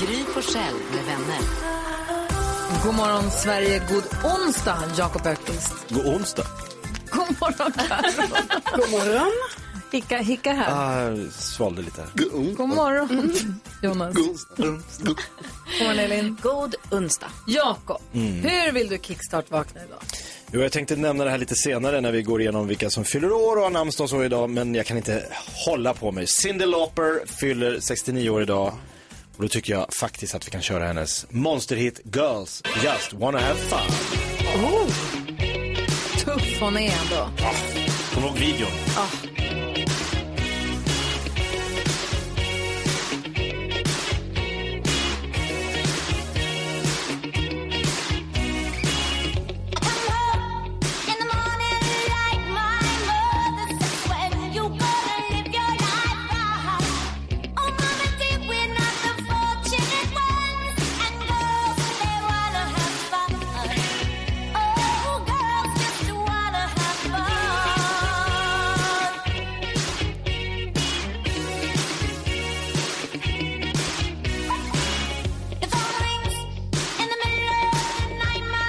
Gry Forssell med vänner. God morgon Sverige, god onsdag Jakob Öqvist. God onsdag. God morgon Carro. God morgon. Hicka, hicka här. Ah, svalde lite här. God morgon Jonas. God morgon Elin. God onsdag. Jakob, Mm. hur vill du kickstart-vakna idag? Jo, jag tänkte nämna det här lite senare när vi går igenom vilka som fyller år och har namnsdag och så idag, men jag kan inte hålla på mig. Cyndi Lauper fyller 69 år idag och då tycker jag faktiskt att vi kan köra hennes monsterhit Girls Just Wanna Have Fun. Oh. Tuff hon är ändå. Kommer du ihåg videon? Oh, Oh, Oh,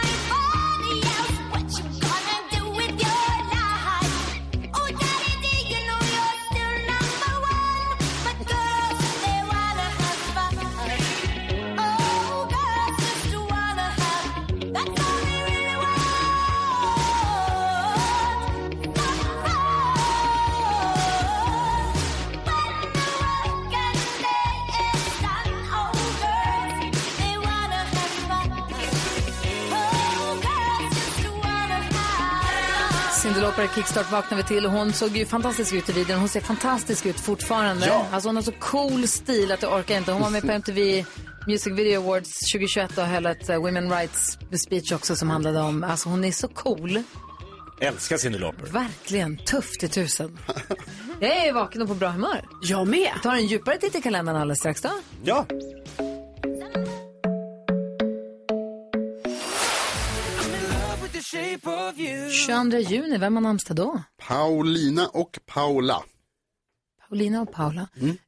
Cyndi Lauper kickstart vaknar vi till. Hon såg ju fantastisk ut i videon. Hon ser fantastisk ut fortfarande. Ja. Alltså hon har så cool stil att jag orkar inte. Hon var med på MTV Music Video Awards 2021 och höll ett eh, Women Rights speech också som handlade om, alltså hon är så cool. Älskar Cyndi Lauper. Verkligen tuff till tusen. Jag är vaken och på bra humör. Jag med. Vi tar en djupare titt i kalendern alldeles strax då. Ja. you. 22 juni, vem har namnsdag då? Paulina och Paula. Paulina och Paula.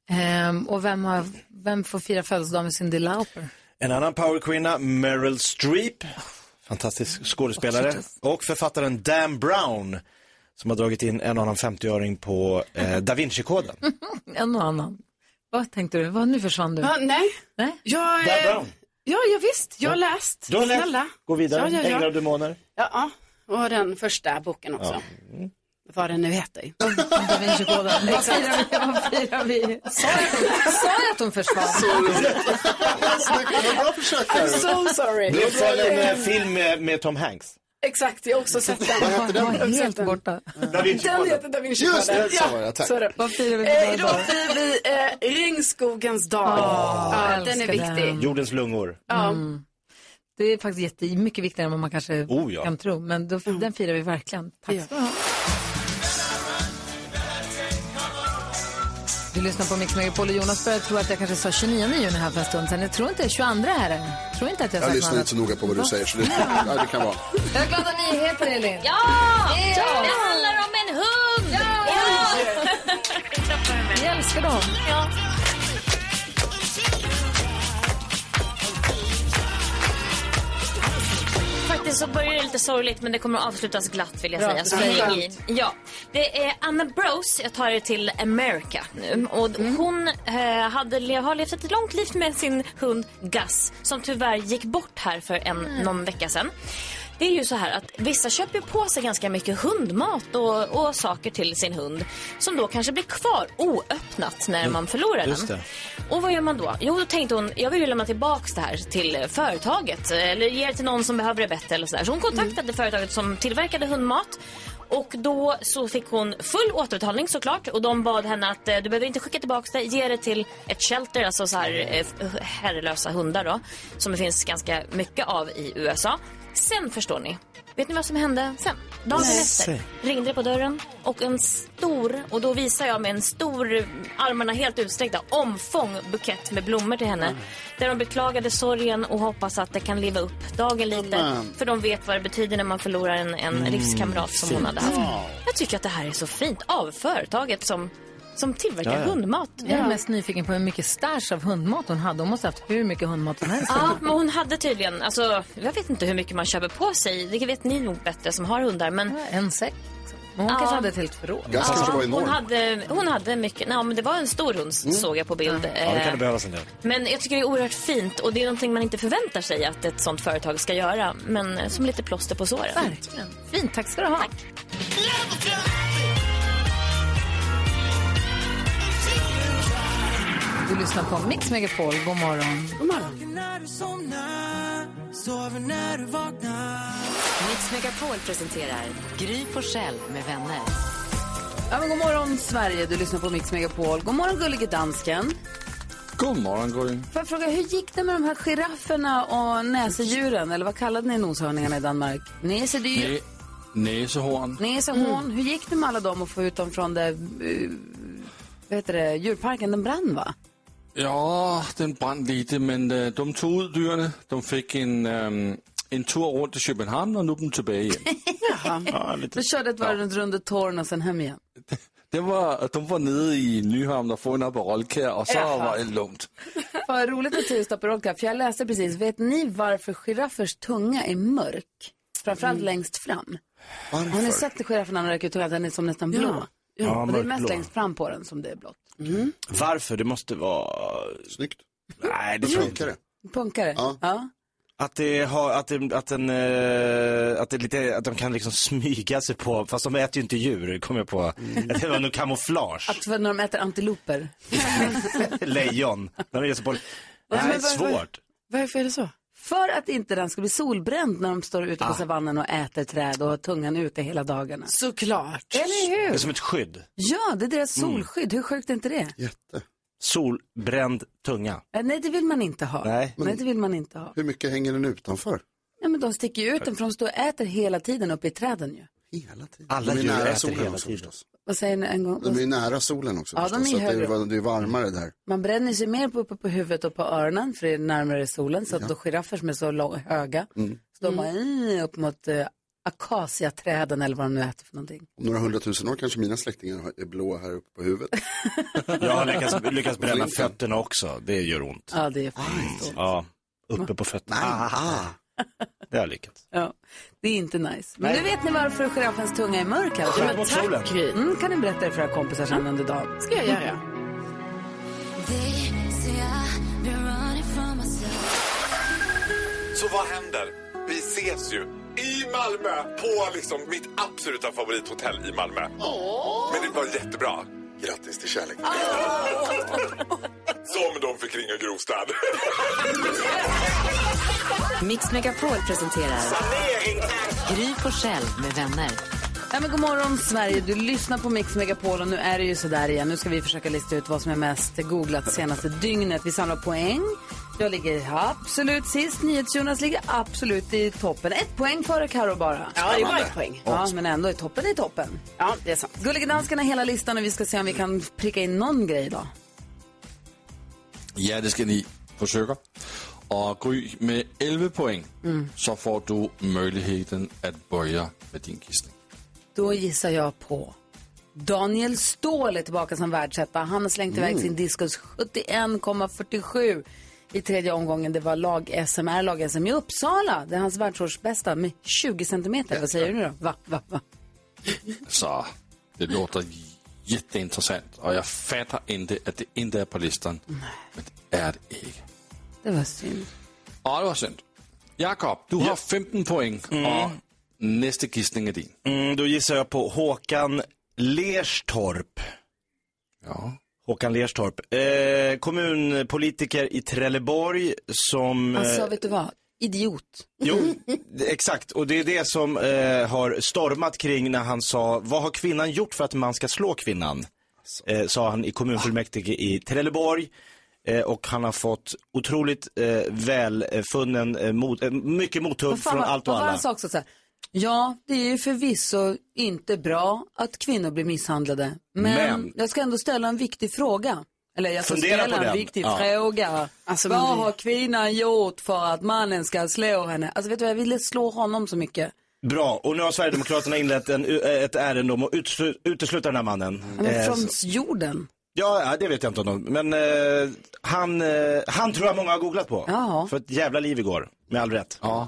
Ehm, och vem, har, vem får fira födelsedag med Cyndi Lauper? En annan powerkvinna, Meryl Streep. Fantastisk skådespelare. Och författaren Dan Brown som har dragit in en och annan 50-öring på eh, Da Vinci-koden. En och annan. Vad tänkte du? Vad, nu försvann du. Ja, nej. Nej? Jag, Dan eh, Brown. ja, jag visst. Jag har läst. Du har läst. Snälla. Gå vidare. Ja, ja, Änglar och ja. demoner. ja, ja. Och den första boken också. Vad den nu heter. Da Vinci-koden. Vad firar vi? Vad firar vi? Sa jag, sa jag att hon försvann? Snyggt, det var bra försök där. So Det sorry. är från en eh, film med, med Tom Hanks. Exakt, jag har också sett Vad den. heter Jag var den? helt borta. Da Den Vinci-koden. heter Da vinci Just det, så var det, tack. Vad firar vi Eh, för idag dag? firar vi eh, regnskogens dag. ja, den är älskar viktig. den. Jordens lungor. Ja. Mm. Det är faktiskt jätte, mycket viktigare än vad man kanske Oh, ja. kan tro. Men då, den firar vi verkligen. Tack ska du ha. Du lyssnar på Mix Megapol och Jonas började tro att jag kanske sa 29 juni här för en stund sedan. Jag tror inte, 22 här är det. tror inte att jag sa Jag lyssnar något inte så noga på vad du Va? säger, så det, ja, det kan vara. Jag har glada nyheter, Elin. Ja! Det handlar om en hund! Vi älskar dem. Faktiskt så börjar det lite sorgligt men det kommer att avslutas glatt vill jag Bra, säga. Så bra. det är i. Ja. Det är Anna Bros, jag tar er till America nu. Och Hon eh, hade, le- har levt ett långt liv med sin hund Gus som tyvärr gick bort här för en, någon vecka sedan. Det är ju så här att vissa köper ju på sig ganska mycket hundmat och, och saker till sin hund som då kanske blir kvar oöppnat när man förlorar just den. det. Och vad gör man då? Jo, då tänkte hon, jag vill ju lämna tillbaks det här till eh, företaget eh, eller ge det till någon som behöver det bättre eller sådär. Så hon kontaktade företaget som tillverkade hundmat Och då så fick hon full återbetalning såklart och de bad henne att eh, du behöver inte skicka tillbaka det, ge det till ett shelter, alltså så här eh, f- herrelösa hundar då, som det finns ganska mycket av i USA. Sen förstår ni, vet ni vad som hände sen? Dagen efter ringde det på dörren och en stor, och då visar jag med en stor, eh, armarna helt utsträckta, omfång bukett med blommor till henne. Där de beklagade sorgen och hoppas att det kan leva upp dagen lite. Amen. För de vet vad det betyder när man förlorar en, en livskamrat som hon hade haft. Jag tycker att det här är så fint av företaget som, som tillverkar Ja, ja. hundmat. Jag är mest nyfiken på hur mycket stash av hundmat hon hade. Hon måste ha haft hur mycket hundmat som helst. Ah. Ja, men hon hade tydligen, alltså, jag vet inte hur mycket man köper på sig. Det vet ni nog bättre som har hundar. Men En säck. liksom. Men hon Ja. kanske hade ett helt förråd. Gas kanske var hon enorm. hade, hon hade mycket, nej men det var en stor hund såg jag på bild. Mm. Ja, det Eh, kan det behövas en del. Men jag tycker det är oerhört fint och det är någonting man inte förväntar sig att ett sånt företag ska göra. Men eh, som lite plåster på såren. Verkligen. Fint, tack ska du ha. Du lyssnar på Mix Megapol. God morgon. Mix Megapol presenterar Gry Forssell med vänner. Ja, men god morgon, Sverige. Du lyssnar på Mix Megapol. God morgon, gullige dansken. God morgon, Gulling. Får jag fråga, hur gick det med de här girafferna och näsedjuren? Eller vad kallade ni noshörningarna i Danmark? Näsedyr? Näsehorn. Näsehorn. Hur gick det med alla dem att få ut dem från det, eh, vad heter det, djurparken? Den brann, va? Ja, den brann lite, men eh, de tog ut dyrene. De fick en, ehm, en tur runt i Köpenhamn och nu är de tillbaka igen. Du körde ett varv runt runt torn och sen hem igen. Det var, øh, de var nere i Nyhamn och fångade på rollkär och så var det lugnt. Vad roligt att Tio stoppar rollcap, för jag läste precis. Vet ni varför giraffers tunga är mörk? Framförallt längst fram. Har ni sett giraffen när den räcker ut tungan? Den är som nästan blå. Ja, och det är mest mörkblå. längst fram på den som det är blått. Mm. Varför? Det måste vara... Snyggt. Nej, det tror jag Funkar inte. det? Punkare? Ja. Att, det har, att, det, att, den, eh, att, det är lite, att de kan liksom smyga sig på, fast de äter ju inte djur, kommer jag på. Mm. Att det var nog kamouflage. Att för när de äter antiloper. Lejon. När de ger sig på... Det här men är vad- svårt. Varför är det så? För att inte den ska bli solbränd när de står ute på savannen och äter träd och har tungan ute hela dagarna. Såklart. Eller Det är hur? som ett skydd. Ja, det är deras solskydd. Hur sjukt är inte det? Jätte. Solbränd tunga. Eh, Nej, det vill man inte ha. Nej. Nej, det vill man inte ha. Hur mycket hänger den utanför? Nej, men de sticker ju ut den för de står och äter hela tiden uppe i träden ju. Hela tiden. Alla de är djur nära äter solen hela också, tiden. förstås. Vad säger ni en gång? De är ju nära solen också Ja, de är förstås, så att det, högre är, det är varmare där. Man bränner sig mer på, uppe på huvudet och på öronen för det är närmare solen. Så att då giraffer som är så lång, höga, så de bara mm, upp mot eh, akaciaträden eller vad de nu äter för någonting. Om några hundratusen år kanske mina släktingar har- är blåa här uppe på huvudet. Jag har lyckats, lyckats bränna fötterna också. Det gör ont. Ja, det är faktiskt då. Ja, uppe på fötterna. Ah, det har jag lyckats. ja, Det är inte nice. Men nu vet ni varför giraffens tunga är mörk i alla Skydd fall. mot solen. Gry. Mm, kan ni berätta det för era kompisar sen Mm. under dagen. ska jag göra. Så vad händer? Vi ses ju i Malmö på liksom mitt absoluta favorithotell i Malmö. Men det var jättebra. Grattis till kärleken. Som de fick ringa Grostad. Mix Megapol presenterar Gry Forssell med vänner. Ja, men god morgon Sverige, du lyssnar på Mix Megapol och nu är det ju sådär igen. Nu ska vi försöka lista ut vad som är mest googlat senaste dygnet. Vi samlar poäng. Jag ligger absolut sist, NyhetsJonas ligger absolut i toppen. Ett poäng före Karo bara. Ja, det är bara ett poäng. Ja, men ändå är toppen i toppen. Ja, det är sant. Gullige dansken har hela listan och vi ska se om vi kan pricka in någon grej idag. Ja, det ska ni försöka. Och Gry, med 11 poäng så får du möjligheten att börja med din gissning. Då gissar jag på Daniel Ståhl är tillbaka som världsetta. Han har slängt iväg sin diskus 71,47 i tredje omgången. Det var lag-SM, är lag-SM i Uppsala. Det är hans världsårsbästa med 20 centimeter. Vad säger du nu då? Va, va, va? Så det låter jätteintressant och jag fattar inte att det inte är på listan. Men det är det inte. Det var synd. Ja, det var synd. Jakob, du har 15 poäng och nästa gissning är din. Mm, då gissar jag på Håkan Lerstorp. Ja. Håkan Lerstorp. Eh, kommunpolitiker i Trelleborg som... Alltså, eh, vet du vad? Idiot. Jo, det- exakt. Och det är det som eh, har stormat kring när han sa, vad har kvinnan gjort för att man ska slå kvinnan? Eh, sa han i kommunfullmäktige i Trelleborg. Eh, och han har fått otroligt eh, välfunnen, eh, mot, eh, mycket mothugg Vad fan från var- allt och vad var alla. Han sa också så här, ja, det är ju förvisso inte bra att kvinnor blir misshandlade. Men, Men- jag ska ändå ställa en viktig fråga. Eller jag ska Fundera på ställa en den. viktig Ja. fråga. Alltså, vad man blir- har kvinnan gjort för att mannen ska slå henne? Alltså vet du vad, jag ville slå honom så mycket. Bra, och nu har Sverigedemokraterna inlett en, eh, ett ärende om att utslu- utesluta den här mannen. Men Eh, från så- jorden. Ja, ja, det vet jag inte om de, men eh, han, eh, han tror jag många har googlat på. För ett jävla liv igår, med all rätt. Ja.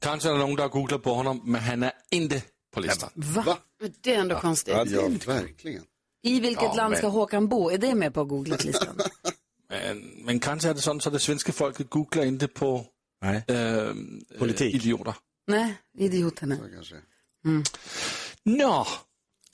Kanske är det någon, der har googlat på honom, men han är inte på listan. Va? Det är ändå konstigt. ja, verkligen. I vilket Ja, land men- ska Håkan bo? Är det med på googlet-listan? Men, men kanske är det sånt så det svenska folket googlar inte på eh, Politik. idioter. Nej, idioterna. Mm. Nå,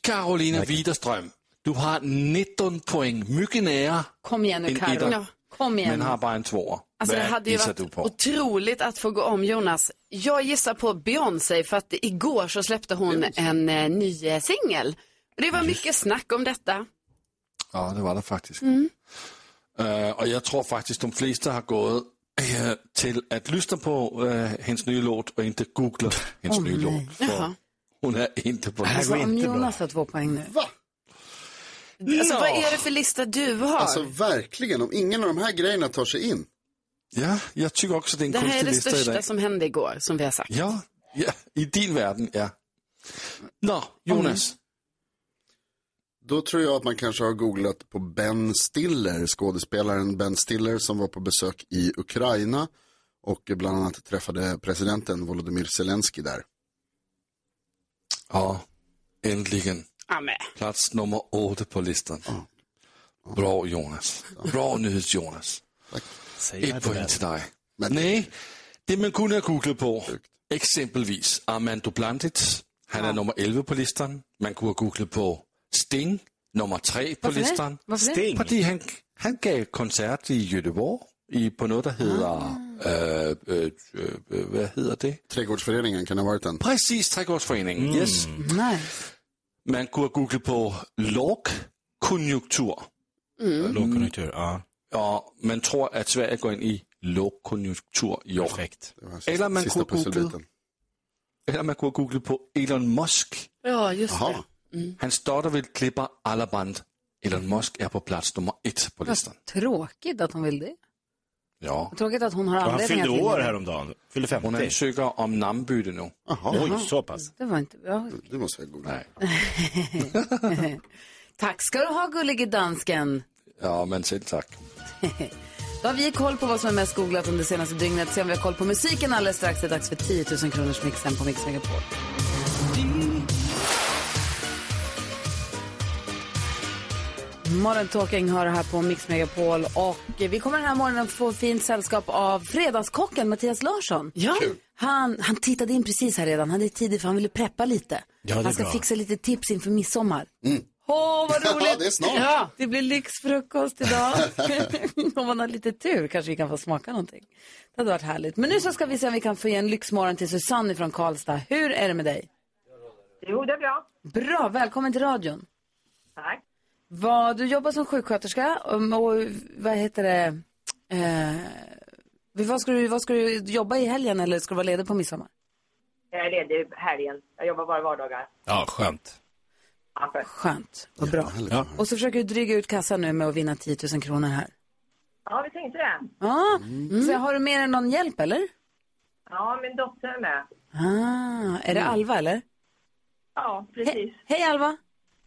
Carolina Widerström, du har 19 poäng, mycket nära. Kom igen nu en Karo. etter, Ja, kom igen. Men har bara en tvåa. Alltså det Vad hade ju gissar varit du på? otroligt att få gå om Jonas. Jag gissar på Beyoncé för att igår så släppte hon en eh, ny eh, singel. Det var mycket snack om detta. Ja, det var det faktiskt. Mm. Eh, och jag tror faktiskt de flesta har gått eh, till att lyssna på eh, hennes nya låt och inte googla hennes Åh, nya nej. låt. För Jaha. hon är inte på Alltså listan. om Jonas har två poäng nu. Alltså, Ja. Vad är det för lista du har? Alltså verkligen, om ingen av de här grejerna tar sig in. Ja, jag tycker också det är en det här är konstig det lista största idag. som hände igår, som vi har sagt. Ja, ja, i din värld, ja. Nå, Jonas. Då tror jag att man kanske har googlat på Ben Stiller, skådespelaren Ben Stiller som var på besök i Ukraina och bland annat träffade presidenten Volodymyr Zelensky där. Ja, äntligen. Amen. Plats nummer åtta på listan. Bra Jonas. Bra nyhet Jonas. mig Ett det poäng där. till dig. Nej, det man kunde ha googlat på, exempelvis Armando Blandic. Han är nummer 11 på listan. Man kunde ha googlat på Sting, nummer 3 på Varför det? listan. Varför det? Sting? Fordi han, han gav koncert i Göteborg i, på något som heter, Ah. øh, øh, øh, vad heter det? Trädgårdsföreningen kan det ha varit den. Precis, Trädgårdsföreningen. Mm. Yes. Man kunde googla på lågkonjunktur. Mm. Lågkonjunktur, ja. Ja, man tror att Sverige går in i lågkonjunktur i år. Perfekt. Eller man sista kunde googla, pusselbiten. eller man kunde googla på Elon Musk. Ja, just Jaha. Hans dotter vill klippa alla band. Elon Musk är på plats nummer ett på listan. Vad tråkigt att hon vill det. Ja. Vad Tråkigt att hon har Ja, han anledning fyllde att vilja år det. häromdagen. Fyllde 50. Hon ansöker om namnbyte nu. Jaha. Det var inte bra. Det måste jag googla. Tack ska du ha, gullige dansken. Ja, men selv tack. Då har vi koll på vad som är mest googlat under det senaste dygnet. Sen har vi koll på musiken alldeles strax. Det är dags för 10 000 kronors mixen på Mix Megapol. Morgontalking hör här på Mix Megapol och vi kommer den här morgonen få fint sällskap av Fredagskocken Mattias Larsson. Ja. Han, han tittade in precis här redan, han är tidig för han ville preppa lite. Ja, det är han ska bra. fixa lite tips inför midsommar. Mm. Åh, vad roligt! det är snart. Ja, det blir lyxfrukost idag. om man har lite tur kanske vi kan få smaka någonting. Det hade varit härligt. Men nu så ska vi se om vi kan få ge en lyxmorgon till Susanne från Karlstad. Hur är det med dig? Jo, det är bra. Bra, välkommen till radion. Tack. Vad, du jobbar som sjuksköterska um, och vad heter det? Eh, vad, ska du, vad ska du jobba i helgen eller ska du vara ledig på midsommar? Jag är ledig helgen. Jag jobbar bara vardagar. Ja, skönt. Skönt, vad bra. Ja. Och så försöker du dryga ut kassan nu med att vinna 10 000 kronor här. Ja, vi tänkte det. Ja, så har du med dig någon hjälp eller? Ja, min dotter är med. Ah, är det Mm. Alva eller? Ja, precis. Hej Alva!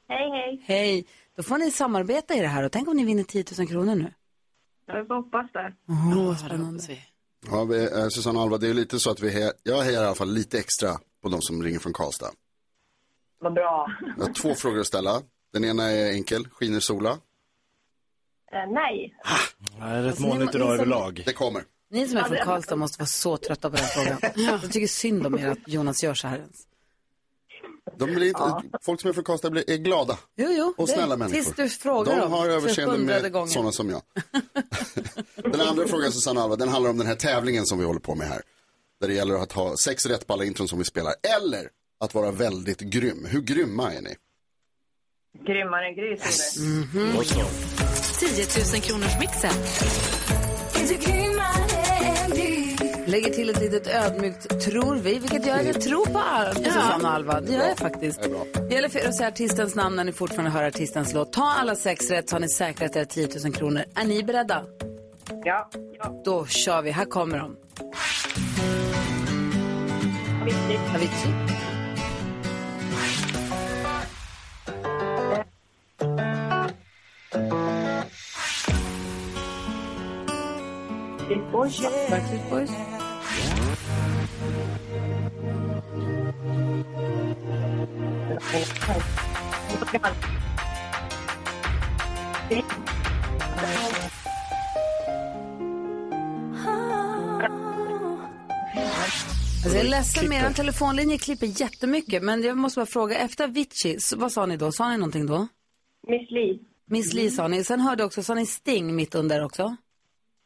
Hej, hej. Hej! Då får ni samarbeta i det här och tänk om ni vinner 10 000 kronor nu. Jag får hoppas det. Åh, vad spännande. Ja, vi, eh, Susanne och Alva, det är lite så att vi he- jag hejar i alla fall lite extra på de som ringer från Karlstad. Vad bra. Jag har två frågor att ställa. Den ena är enkel, skiner sola? Eh, nej. Det är rätt Alltså, ni- molnigt idag ni som- överlag. Det kommer. Ni som är från Karlstad måste vara så trötta på den frågan. Jag tycker synd om er att Jonas gör så här ens. De blir inte, Folk som är från Karlstad blir, är glada. Jo, jo. Och snälla det, människor. Tills du frågar de dem har för överseende hundrade med gången. sådana som jag. den andra frågan Susanne Alva, den handlar om den här tävlingen som vi håller på med här. Där det gäller att ha sex rätt på alla intron som vi spelar. Eller att vara väldigt grym. Hur grymma är ni? Grymmare än gris. Yes. Mm-hmm. 10 000 kronors mixen. Lägger till ett litet ödmjukt tror vi, vilket gör att Mm. jag tror på, Al- på Susanne och Alva. Det gör jag faktiskt. Det gäller för er att säga artistens namn när ni fortfarande hör artistens låt. Ta alla sex rätt så har ni säkrat era 10 000 kronor. Är ni beredda? Ja. Då kör vi. Här kommer de. Avicii. Backstreet Boys. Alltså jag är ledsen, men er telefonlinje klipper jättemycket. Men jag måste bara fråga, efter Avicii, så- vad sa ni då? Sa ni någonting då? Miss Li. Miss Li sa ni. Sen hörde jag också, sa ni Sting mitt under också?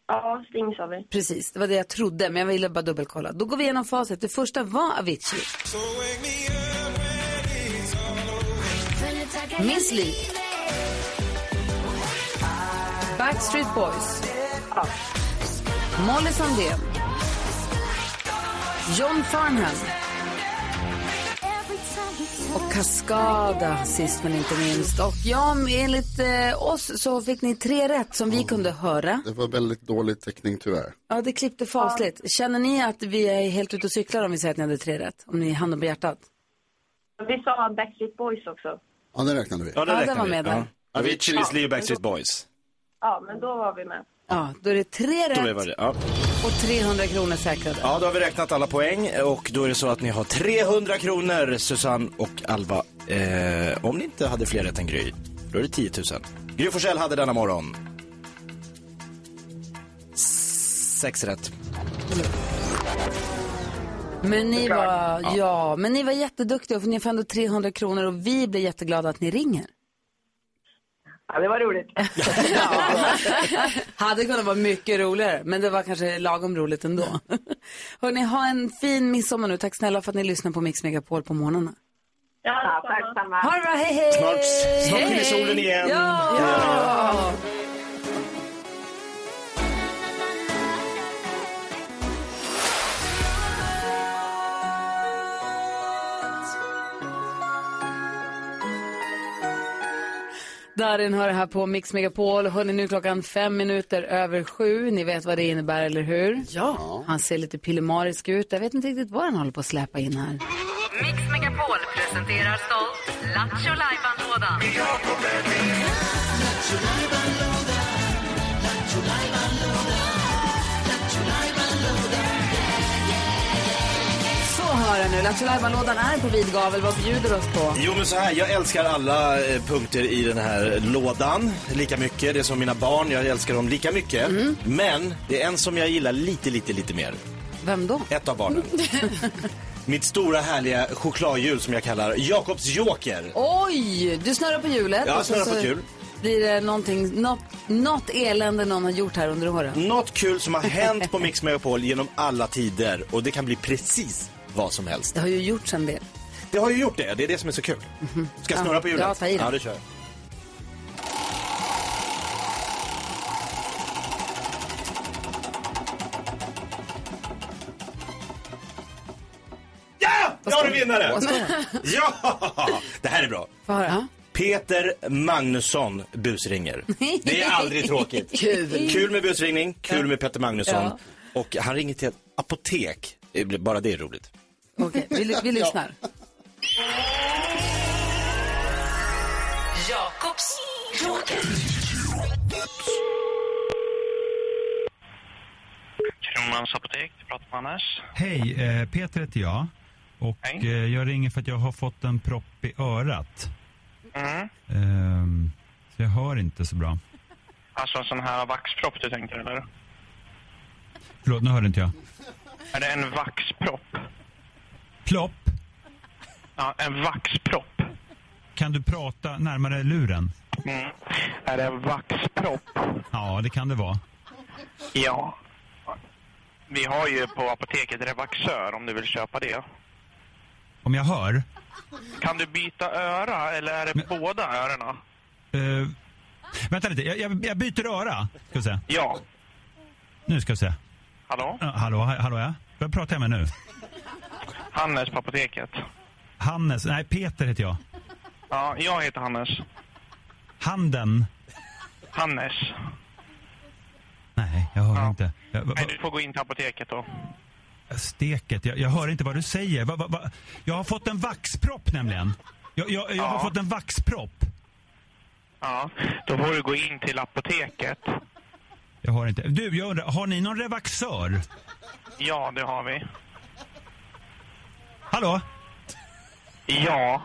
Ja, Sting sa vi. Precis, det var det jag trodde, men jag ville bara dubbelkolla. Då går vi igenom facit. Det första var Avicii. Miss Li. Backstreet Boys. Molly Sandén. John Farnham. Och Cascada sist men inte minst. Och ja, enligt eh, oss så fick ni tre rätt som vi kunde höra. Det var väldigt dålig täckning tyvärr. Ja, det klippte fasligt. Känner ni att vi är helt ute och cyklar om vi säger att ni hade tre rätt? Om ni har handen på hjärtat? Vi sa Backstreet Boys också. Ja, det räknade vi. Ja, Ja, det den räknar var vi. med där. Ja. Avicii, Miss Li och Backstreet Boys. Ja, men då var vi med. Ja, då är det tre Då rätt var det. Ja. och 300 kronor säkrade. ja, då har vi räknat alla poäng och då är det så att ni har 300 kronor, Susanne och Alva. Eh, om ni inte hade fler rätt än Gry, då är det 10 000. Gry Forssell hade denna morgon. Sex rätt. Men ni var, Ja. ja, men ni var jätteduktiga för ni får ändå 300 kronor och vi blir jätteglada att ni ringer. Ja, det var roligt. Hade kunnat vara mycket roligare, men det var kanske lagom roligt ändå. Hörni, ha en fin midsommar nu. Tack snälla för att ni lyssnar på Mix Megapol på morgnarna. Ja, tack samma. Ha det bra, hej hej! Snart, snart skiner solen igen. Ja! Ja. Darin hör här på Mix Megapol. Hörni, nu är klockan fem minuter över sju. Ni vet vad det innebär, eller hur? Ja. Han ser lite pillemarisk ut. Jag vet inte riktigt vad han håller på att släpa in här. Mix Megapol presenterar stolt Lattjo Lajban-lådan. Så hör jag nu. Lattjo Lajban-lådan är på vid gavel. Vad bjuder oss på? Jo men så här, jag älskar alla eh, punkter i den här lådan lika mycket. Det är som mina barn, jag älskar dem lika mycket. Mm. Men det är en som jag gillar lite, lite, lite mer. Vem då? Ett av barnen. Mitt stora härliga chokladhjul som jag kallar Jakobs Joker. Oj! Du snurrar på hjulet. Ja, och sen snurrar på så ett hjul. Blir det någonting, något, något elände någon har gjort här under åren? Något kul som har hänt på Mix Megapol genom alla tider och det kan bli precis vad som helst. Det har ju gjorts en del. Mhm. Det har ju gjort det, det är det som är så kul. Ska jag snurra på hjulet? Ja, ta i det. Ja, det kör jag. Ja! Jag har en vinnare! Ja! Det här är bra. Få höra. Peter Magnusson busringer. Det är aldrig tråkigt. Kul. kul med busringning, kul med Peter Magnusson. Ja. Och han ringer till ett apotek. Det blir- Bara det är roligt. Okej, vi, ly- vi lyssnar. Jakobs Joker. Kronans apotek, det pratar man Anders. Hej, eh, Peter heter jag. Och eh, jag ringer för att jag har fått en propp i örat. Mm. Ehm, så jag hör inte så bra. Alltså en sån här vaxpropp du tänker eller? Förlåt, nu hörde inte jag. Är det en vaxpropp? Plopp? Ja, en vaxpropp. Kan du prata närmare luren? Mm. Är det en vaxpropp? Ja, det kan det vara. Ja. Vi har ju på apoteket Revaxör om du vill köpa det. Om jag hör? Kan du byta öra eller är det båda örona? Eh, vänta lite, jag, jag, jag byter öra. Ska vi se. Ja. Nu ska vi se. Hallå? Ja, hallå, ha- hallå ja. Vem pratar jag med nu? Hannes på apoteket. Hannes, nej Peter heter jag. Ja, jag heter Hannes. Handen. Hannes. Nej, jag hör inte. Jag, va- Nej, du får gå in till apoteket då. va- steket, jag, jag hör inte vad du säger. Va, va, va? Jag har fått en vaxpropp nämligen. Jag, jag, jag har fått en vaxpropp. Ja, då får du gå in till apoteket. Jag hör inte. Du, jag undrar, har ni någon revaxör? Ja, det har vi. Hallå? Ja.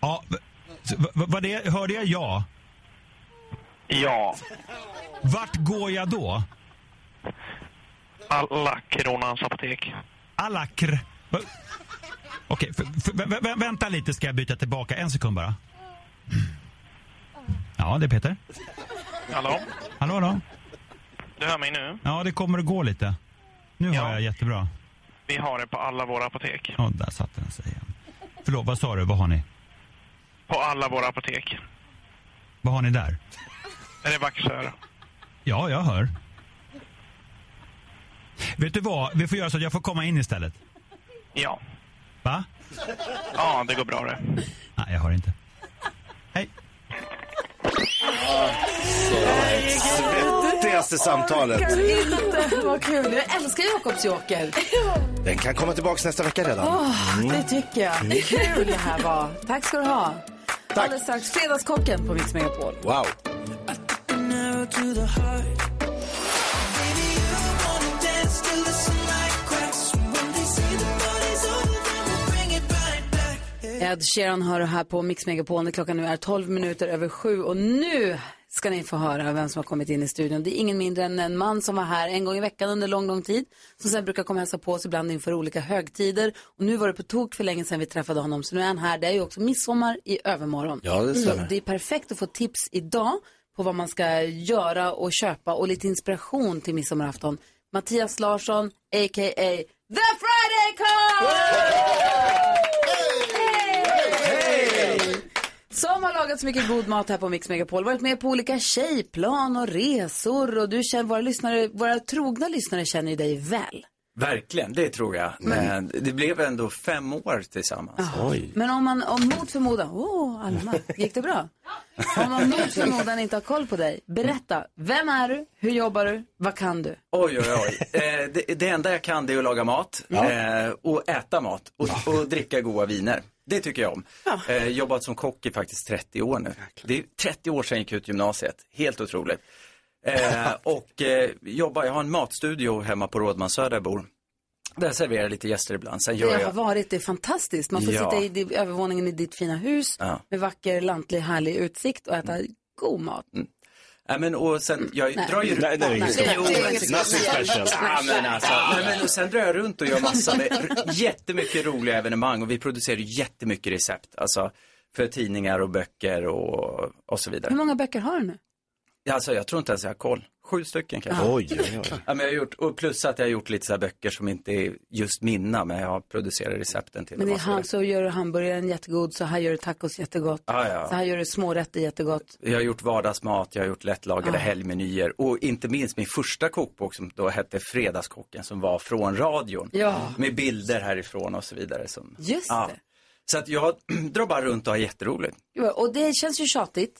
Ja, v- så, v- vad det, hörde jag ja? Ja. Vart går jag då? Alla Kronans apotek. Alakr. Va- Okej, för- för- vä- vä- vänta lite ska jag byta tillbaka. En sekund bara. Ja, det är Peter. Hallå? Hallå, hallå. Du hör mig nu? Ja, det kommer att gå lite. Nu hör jag jättebra. Vi har det på alla våra apotek. Ja, där satte den sig igen. Förlåt, vad sa du? Vad har ni? På alla våra apotek. Vad har ni där? Är det vaxör? Ja, jag hör. Vet du vad? Vi får göra så att jag får komma in istället. Ja. Va? Ja, det går bra det. Nej, jag hör inte. Svettigaste samtalet. Inte, vad kul. Jag älskar Jakobs joker. Den kan komma tillbaka nästa vecka redan. Mm. Åh, det tycker jag. Det är kul det här var. Tack ska du ha. Alldeles strax Fredagskocken på Mix Megapol. Wow. Ed Sheeran hör du här på Mix Megapol. När Klockan nu är 12 minuter över sju och nu ska ni få höra vem som har kommit in i studion. Det är ingen mindre än en man som var här en gång i veckan under lång, lång tid. Som sen brukar komma och hälsa på oss ibland inför olika högtider. Och nu var det på tok för länge sedan vi träffade honom. Så nu är han här. Det är ju också midsommar i övermorgon. Ja, det stämmer. Så det är perfekt att få tips idag på vad man ska göra och köpa och lite inspiration till midsommarafton. Mattias Larsson, a.k.a. The Friday Call! Som har lagat så mycket god mat här på Mix Megapol. Varit med på olika tjejplan och resor. Och du känner, våra, lyssnare, våra trogna lyssnare känner ju dig väl. Verkligen, det tror jag. Men det blev ändå fem år tillsammans. Oj. Men om man om mot förmodan, åh Alma, gick det bra? Om man mot förmodan inte har koll på dig, berätta. Vem är du? Hur jobbar du? Vad kan du? Oj, oj, oj. Eh, det, det enda jag kan det är att laga mat Ja. eh, och äta mat och, och dricka goda viner. Det tycker jag om. Eh, jobbat som kock i faktiskt 30 år nu. Det är 30 år sedan jag gick ut gymnasiet. Helt otroligt. Eh, och eh, jobbar, jag har en matstudio hemma på Rådmansö där jag bor. Där serverar jag lite gäster ibland. Sen Det gör har jag... varit, det är fantastiskt. Man får Ja. sitta i di- övervåningen i ditt fina hus Ja. med vacker, lantlig, härlig utsikt och äta god mat. Mm. Nej men och sen, jag Mm. Nej. drar ju... Nej, det är inget stort. Jo, Det är inget men- speciellt. Ja, men alltså, nej, men och sen drar jag runt och gör massa med, r- jättemycket roliga evenemang och vi producerar jättemycket recept. Alltså, för tidningar och böcker och, och så vidare. Hur många böcker har du nu? Alltså jag tror inte ens jag har koll. Sju stycken kanske. Ah. Oj, oj, oj. Ja, men jag har gjort, och plus att jag har gjort lite så här böcker som inte är just mina, men jag har producerat recepten till. dem Men det är och så han, vidare. så gör du hamburgaren jättegod, så här gör du tacos jättegott. Ja, ja. Så här gör du smårätter jättegott. Jag har gjort vardagsmat, jag har gjort lättlagade Ah. helgmenyer och inte minst min första kokbok som då hette Fredagskocken som var från radion. Ja. Med bilder härifrån och så vidare. Som, Just Ja. Så att jag drar bara runt och har jätteroligt. Jo, Och det känns ju tjatigt,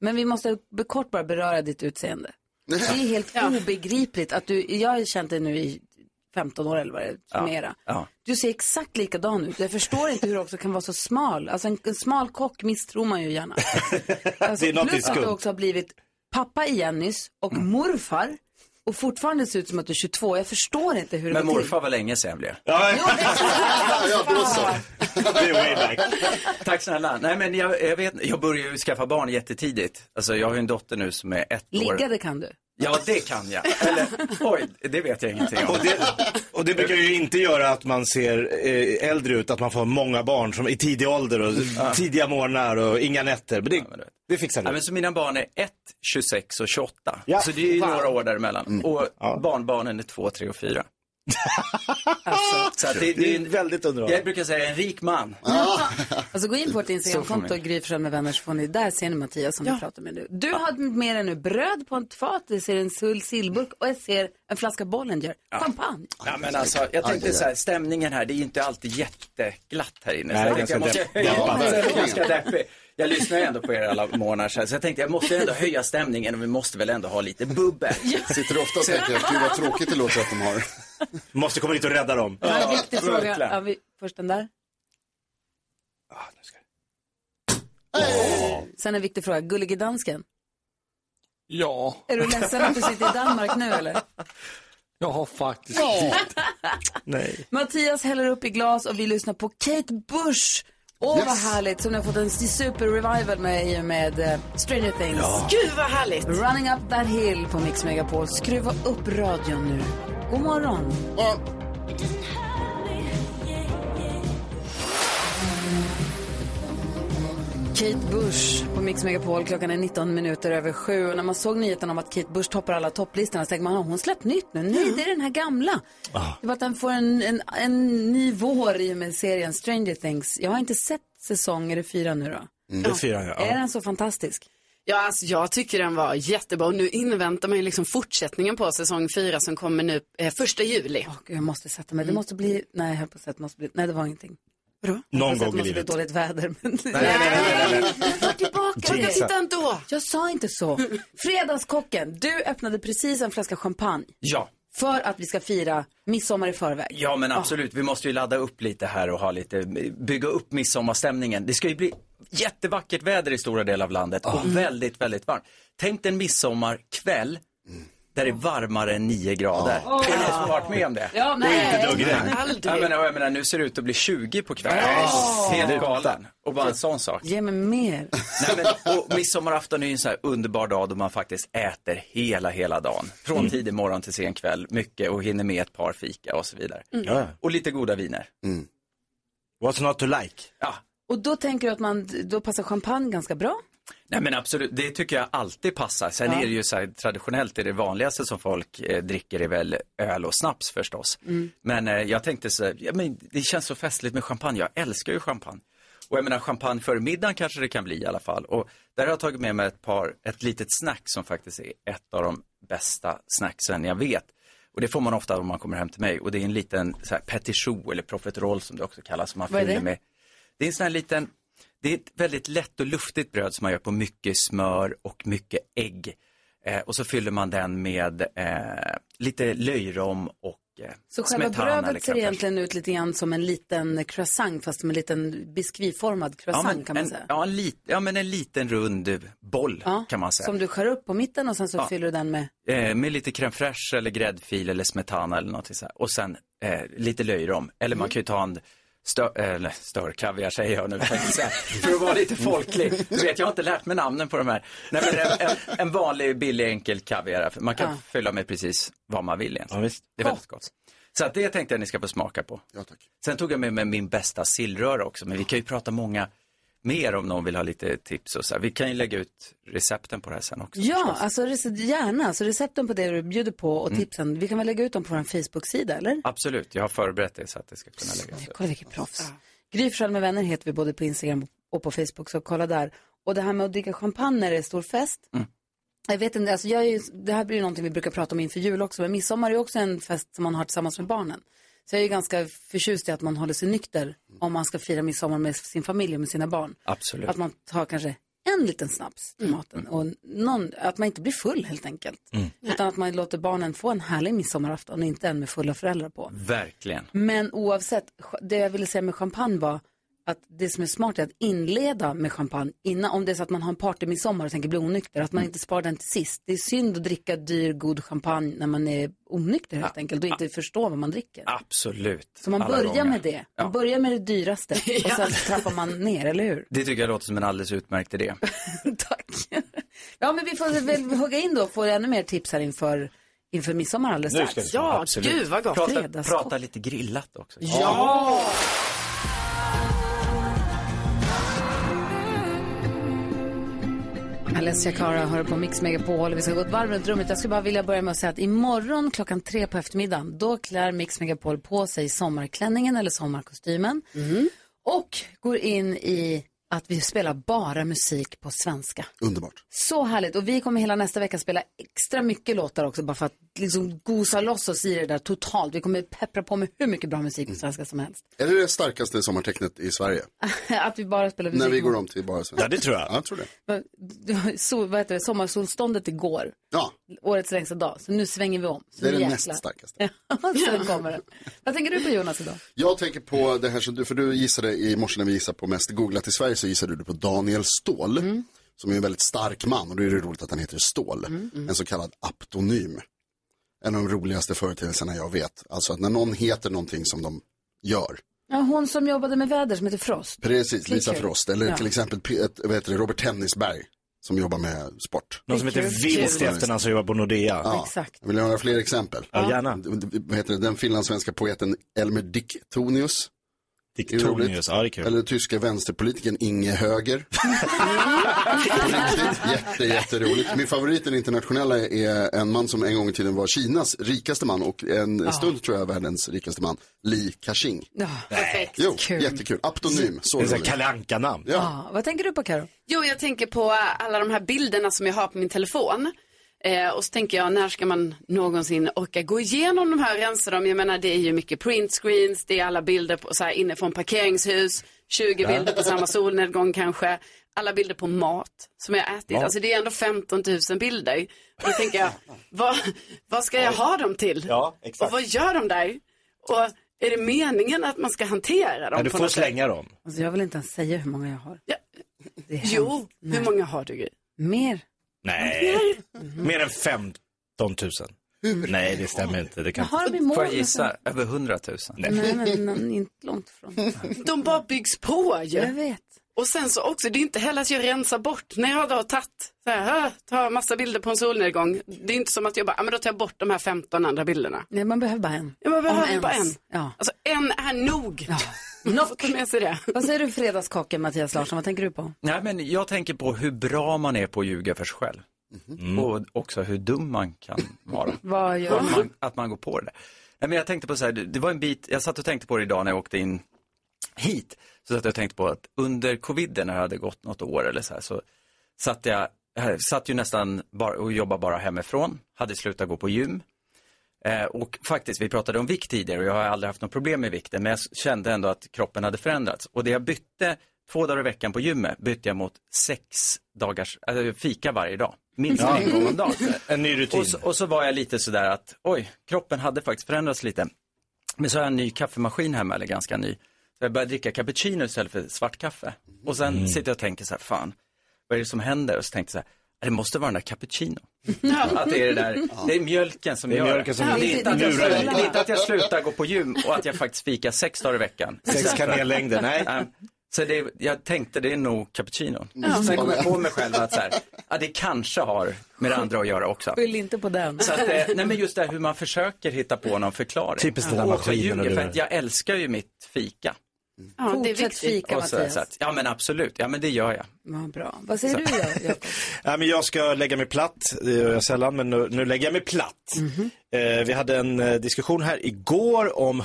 men vi måste be- kort bara beröra ditt utseende. Det är helt obegripligt att du, jag har känt dig nu i 15 år eller vad det är, Ja. mera. Ja. Du ser exakt likadan ut. Jag förstår inte hur du också kan vara så smal. Alltså en, en smal kock misstror man ju gärna. Alltså, Det är något plus att du skumt. också har blivit pappa igen nyss och Mm. morfar. Och fortfarande ser ut som att du är 22. Jag förstår inte hur det Men går till. morfar var länge sedan blev. Alltså, Tack snälla. Nej men jag, jag vet, jag började ju skaffa barn jättetidigt. Alltså jag har ju en dotter nu som är ett år. Ligga det kan du. Ja, det kan jag. Eller, oj, det vet jag ingenting om. Och det brukar ju inte göra att man ser eh, äldre ut, att man får många barn som, i tidig ålder och tidiga morgnar och inga nätter. Men det, det fixar du. Ja, men så mina barn är 1, 26 och 28. Ja. Mm. Så det är ju Wow. några år däremellan. Och barnbarnen är 2, 3 och 4. Så att det, Det är väldigt underhållande. Jag brukar säga en rik man. Alltså gå in på vårt Så får Instagramkonto man. och Gry Forssell med vänner så får ni, där ser ni Mattias som vi pratar med nu. Du har med dig nu bröd på ett fat, jag ser en sull sillburk och jag ser en flaska Bollinger. Champagne. Ja, men alltså, jag tänkte så här, stämningen här, det är ju inte alltid jätteglatt här inne. Nej, så jag det är tänkte jag ganska måste depp- höja, deppat. det är ganska deppig. Jag lyssnar ju ändå på er alla morgnar så, här, så jag tänkte jag måste ändå höja stämningen och vi måste väl ändå ha lite bubbel. Sitter ofta och tänker, gud vad tråkigt det låter att de har. Måste komma dit och rädda dem. Ja, en viktig fråga. verkligen. Ja, vi, först den där. Ah, Sen en viktig fråga, Gullige dansken. Ja. Är du ledsen att du sitter i Danmark nu eller? Jag har faktiskt Nej. Mattias häller upp i glas och vi lyssnar på Kate Bush. Åh vad härligt, som nu har fått en super revival med i och med eh, Stranger Things. Ja. Gud, vad härligt. Running up that hill på Mix Megapol. Skruva upp radion nu. God morgon. Kate Bush på Mix Megapol. Klockan är 19 minuter över sju. Och när man såg nyheten om att Kate Bush toppar alla topplistorna så tänkte man, har hon släppt nytt nu? Nej, det är den här gamla. Det var att den får en, en, en ny vår i och med serien Stranger Things. Jag har inte sett säsong, är det fyra nu då? Det firar jag. Är den så fantastisk? Ja, alltså, jag tycker den var jättebra och nu inväntar man ju liksom fortsättningen på säsong fyra som kommer nu eh, första juli. Gud, jag måste sätta mig. Det måste bli, nej, jag höll på att säga att det måste bli, nej det var ingenting. Vadå? Någon Jag höll på att säga att gång i Det livet. måste bli dåligt väder. Men... nej, nej, nej, nej. Vi tar tillbaka Jag kan titta ändå. Jag sa inte så. Fredagskocken, du öppnade precis en flaska champagne Ja. för att vi ska fira midsommar i förväg. Ja men absolut, vi måste ju ladda upp lite här och ha lite, bygga upp midsommarstämningen. Det ska ju bli jättevackert väder i stora delar av landet och väldigt, väldigt varmt. Tänk dig en midsommarkväll där det är varmare än 9 grader. Ja. Är det någon som har varit med om det? Ja, nej. Och inte duggregn. Aldrig. Ja, men, jag menar, nu ser det ut att bli 20 på kvällen. Ja. Helt galen. Och bara en sån sak. Ge mig mer. Nej, men, och midsommarafton är ju en sån här underbar dag då man faktiskt äter hela, hela dagen. Från Mm. tidig morgon till sen kväll, mycket och hinner med ett par fika och så vidare. Mm. Ja, Mm. ja. Och lite goda viner. What's not to like? Ja, Och då tänker du att man, då passar champagne ganska bra. nej men absolut, det tycker jag alltid passar. Sen Ja. är det ju så här, traditionellt är det vanligaste som folk eh, dricker är väl öl och snaps förstås. Mm. Men eh, jag tänkte så här, ja, men det känns så festligt med champagne, jag älskar ju champagne. Och jag menar champagne före middagen kanske det kan bli i alla fall. Och där har jag tagit med mig ett par, ett litet snack som faktiskt är ett av de bästa snacksen jag vet. Och det får man ofta om man kommer hem till mig. Och det är en liten så här, petit choux eller profiterole som det också kallas. Som man Vad är fyller det? med. Det är en sån här liten, det är ett väldigt lätt och luftigt bröd som man gör på mycket smör och mycket ägg. Eh, och så fyller man den med eh, lite löjrom och eh, Så själva smetana eller brödet ser crème fraiche. egentligen ut lite grann som en liten croissant fast med en liten biskviformad croissant ja, men, kan man en, säga. Ja, en lit, ja, men en liten rund boll kan man säga. Som du skär upp på mitten och sen så Ja. fyller du den med. Eh, med lite crème fraîche eller gräddfil eller smetana eller något så här. Och sen eh, lite löjrom. Eller man kan ju ta en stör, eller störkaviar säger jag nu. tänkte jag säga. För att vara lite folklig. Du vet, jag har inte lärt mig namnen på de här. Nej, men en, en, en vanlig billig enkel kaviar. Man kan Ja. fylla med precis vad man vill egentligen. Det är väldigt gott. Så att det tänkte jag ni ska få smaka på. Sen tog jag med mig min bästa sillröra också. Men vi kan ju prata många mer om någon vill ha lite tips och så här. Vi kan ju lägga ut recepten på det här sen också. Ja, alltså rece- gärna. Så recepten på det du bjuder på och Mm. tipsen, vi kan väl lägga ut dem på vår Facebook-sida eller? Absolut, jag har förberett det så att det ska kunna läggas Kolla vilket proffs. Gry Forssell med vänner heter vi både på Instagram och på Facebook, så kolla där. Och det här med att dricka champagne när det är stor fest. Mm. Jag vet inte, alltså jag är ju, det här blir ju någonting vi brukar prata om inför jul också, men midsommar är ju också en fest som man har tillsammans med barnen. Så jag är ju ganska förtjust i att man håller sig nykter om man ska fira midsommar med sin familj och med sina barn. Absolut. Att man tar kanske en liten snaps till maten och någon, att man inte blir full helt enkelt. Mm. Utan att man låter barnen få en härlig midsommarafton och inte en med fulla föräldrar på. Verkligen. Men oavsett, det jag ville säga med champagne var att det som är smart är att inleda med champagne innan, om det är så att man har en party midsommar och tänker bli onykter, att man inte sparar den till sist. Det är synd att dricka dyr, god champagne när man är onykter helt enkelt och inte förstår vad man dricker. Absolut. Så man alla börjar gånger. med det, man börjar med det dyraste och sen trappar man ner, eller hur? Det tycker jag låter som en alldeles utmärkt idé. Ja, men vi får väl hugga in då och få ännu mer tips här inför, inför midsommar alldeles Nu strax. ska vi få, absolut. Prata, Fredagskock. prata lite grillat också. Ja! Alessia Cara hör på Mix Megapol. Vi ska gå ett varv runt rummet. Jag skulle bara vilja börja med att säga att imorgon klockan tre på eftermiddagen, då klär Mix Megapol på sig sommarklänningen eller sommarkostymen. Och går in i att vi spelar bara musik på svenska. Underbart. Så härligt. Och vi kommer hela nästa vecka spela extra mycket låtar också bara för att liksom gosa loss oss i det där totalt. Vi kommer peppra på med hur mycket bra musik på svenska som helst. Är det det starkaste sommartecknet i Sverige? Att vi bara spelar musik. När vi går om till bara svenska. Ja, det tror jag. jag tror det. Det var sol, vad heter det, sommarsolståndet igår. Ja. Årets längsta dag. Så nu svänger vi om. Så Det är nu den jäklar. näst starkaste. Sen kommer den. Vad tänker du på Jonas idag? Jag tänker på det här som du, för du gissade i morse när vi gissade på mest googlat i Sverige så gissade du på Daniel Ståhl. Som är en väldigt stark man och då är det roligt att han heter Ståhl. En så kallad aptonym. En av de roligaste företeelserna jag vet. Alltså att när någon heter någonting som de gör. Ja, hon som jobbade med väder som heter Frost. Precis, Lisa Det är kul. Frost. Eller Ja. till exempel P- ett, vad heter det, Robert Tennisberg som jobbar med sport. Någon som heter Det är kul. Vilst i efternamn som jobbar på Nordea. Ja. Exakt. Vill ni höra fler exempel? Ja, gärna. D- d- Vad heter det? Den finlandssvenska poeten Elmer Diktonius. Diktonius, ja, det är kul. Eller den tyska vänsterpolitiken Inge Höger. Jätte, jätteroligt. Min favorit, den internationella, är en man som en gång i tiden var Kinas rikaste man och en Ja. stund tror jag världens rikaste man, Li Ka-Shing. Ja, perfekt. Jo, jättekul. Aptonym. Så Det är så här roligt. Kalle Anka-namn. Ja. Ja, vad tänker du på Karo? Jo, jag tänker på eh, alla de här bilderna som jag har på min telefon. Eh, och så tänker jag, när ska man någonsin orka gå igenom de här och rensa dem? Jag menar, det är ju mycket printscreens, det är alla bilder på, så här, inne från parkeringshus, 20 Ja. bilder på samma solnedgång kanske, alla bilder på mat som jag ätit. Mat. Alltså det är ändå 15 000 bilder. Och då tänker jag, vad, vad ska jag ha dem till? Ja, Och vad gör de där? Och är det meningen att man ska hantera dem? Men du på får något sätt? slänga dem. Alltså, jag vill inte ens säga hur många jag har. Det är Jo, hemskt. hur många har du? Gry? Mer. Nej, Mm-hmm. mer än 15 000. Nej, det stämmer inte. Det kan... Vad har de i mål? Får jag gissa? Över 100 000? Nej, men n- inte långt ifrån. De bara byggs på ju. Jag vet. Och sen så också, det är inte heller att jag rensar bort. När jag då har tagit, så här, "Ah, tar massa bilder på en solnedgång. Det är inte som att jag bara, ah, men då tar jag bort de här 15 andra bilderna. Nej, man behöver bara en. Ja, man behöver Om bara ens. en. Alltså en är nog. Ja. Nog. Ta med sig det. Vad säger du fredagskocken Mattias Larsson? Vad tänker du på? Nej, men jag tänker på hur bra man är på att ljuga för sig själv. Och också hur dum man kan vara. Vad gör att, man, att man går på det där. Nej, men jag tänkte på så här, det det var en bit, jag satt och tänkte på det idag när jag åkte in hit. Så satt jag och tänkte på att under coviden när det hade gått något år eller så här så satt jag, här, satt ju nästan bara och jobbade bara hemifrån, hade slutat gå på gym. Eh, och faktiskt, vi pratade om vikt tidigare och jag har aldrig haft något problem med vikten, men jag s- kände ändå att kroppen hade förändrats. Och det jag bytte två dagar i veckan på gymmet bytte jag mot sex dagars äh, fika varje dag. Minst Ja. en gång om dagen. En ny rutin. Och så, och så var jag lite sådär att, oj, kroppen hade faktiskt förändrats lite. Men så har jag en ny kaffemaskin hemma, eller ganska ny. Så jag började dricka cappuccino istället för svart kaffe. Och sen Mm. sitter jag och tänker så här, fan, vad är det som händer? Och så tänkte jag så här, det måste vara den där cappuccino. Att det är det där, det Mm. är mjölken som Det är gör mjölken som det. är inte att jag lurar dig. slutar- det är inte att jag slutar gå på gym och att jag faktiskt fikar sex dagar i veckan. Sex Istället för- kanellängder, nej. Ehm, Så det, är- jag tänkte det är nog cappuccino. Mm. Ja. Sen kom jag på mig själv att så här, ja, det kanske har med det andra att göra också. Skyll inte på den. Så att, eh, nej men just det här hur man försöker hitta på någon förklaring. Typiskt den där Och jag maskinen ljuger, och det För där. att jag älskar ju mitt fika. Ja, det är Fortsätt viktigt. fika Och så, Mattias. så att, ja men absolut, ja men det gör jag. Vad bra. Vad säger du då? Jakob? Nej, men jag ska lägga mig platt, det gör jag sällan, men nu, nu lägger jag mig platt. Eh, vi hade en eh, diskussion här igår om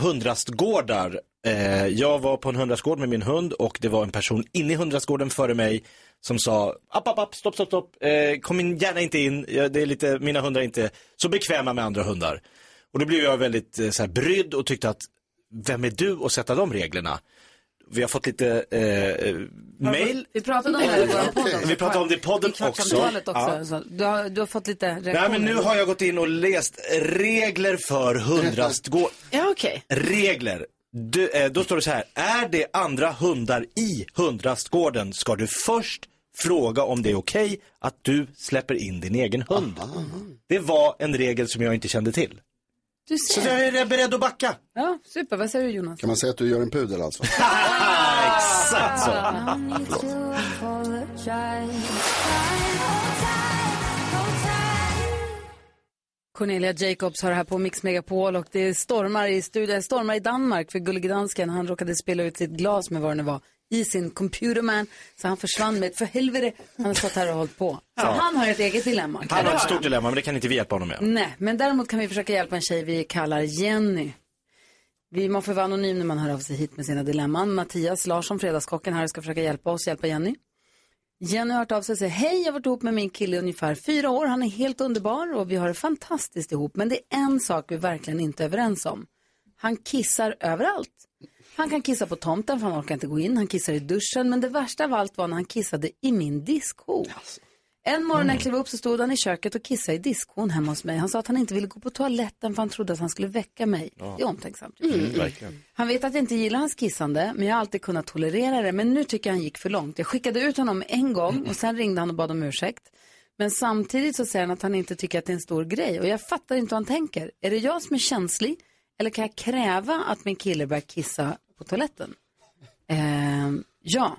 hundrastgårdar. Eh, jag var på en hundrastgård med min hund och det var en person inne i hundrastgården före mig som sa, app, app, app, stopp, stopp, stopp, eh, kom in, gärna inte in, jag, det är lite, mina hundar är inte så bekväma med andra hundar. Och då blev jag väldigt eh, så här, brydd och tyckte att, vem är du att sätta de reglerna? Vi har fått lite eh, eh, mail. Vi pratade om det här i vår podd också. Vi pratade om det i podden I också. kvartsamtalet också. Ja. Så du, har, du har fått lite reaktioner. Nej men nu har jag gått in och läst regler för hundrastgård. Ja okej. Regler. Du, eh, då står det så här, är det andra hundar i hundrastgården ska du först fråga om det är okej att du släpper in din egen hund. Det var en regel som jag inte kände till. Du Så ser. jag är beredd att backa. Ja, super. Vad säger du Jonas? Kan man säga att du gör en pudel alltså? Exakt så. Förlåt. Cornelia Jacobs har det här på Mix Megapol och det stormar i studion, stormar i Danmark för Gullige Dansken, han råkade spela ut sitt glas med vad det nu var i sin computerman, så han försvann med ett för helvete, han har stått här och hållit på. Så Ja. han har ett eget dilemma. kan Han jag har ett höra. stort dilemma, men det kan inte vi hjälpa honom med. Nej, men däremot kan vi försöka hjälpa en tjej vi kallar Jenny. Vi, man får vara anonym när man hör av sig hit med sina dilemman. Mattias Larsson, Fredagskocken här, ska försöka hjälpa oss, hjälpa Jenny. Jenny har hört av sig och säger, hej, jag har varit ihop med min kille i ungefär fyra år. Han är helt underbar och vi har det fantastiskt ihop. Men det är en sak vi verkligen inte är överens om. Han kissar överallt. Han kan kissa på tomten för han orkar inte gå in. Han kissar i duschen. Men det värsta av allt var när han kissade i min diskho. En morgon när Mm. jag klev upp så stod han i köket och kissade i diskon hemma hos mig. Han sa att han inte ville gå på toaletten för han trodde att han skulle väcka mig. Ja. Det är omtänksamt. Mm, verkligen. Han vet att jag inte gillar hans kissande, men jag har alltid kunnat tolerera det. Men nu tycker jag han gick för långt. Jag skickade ut honom en gång och sen ringde han och bad om ursäkt. Men samtidigt så säger han att han inte tycker att det är en stor grej. Och jag fattar inte hur han tänker. Är det jag som är känslig? Eller kan jag kräva att min kille börjar kissa på toaletten? Ehm, ja.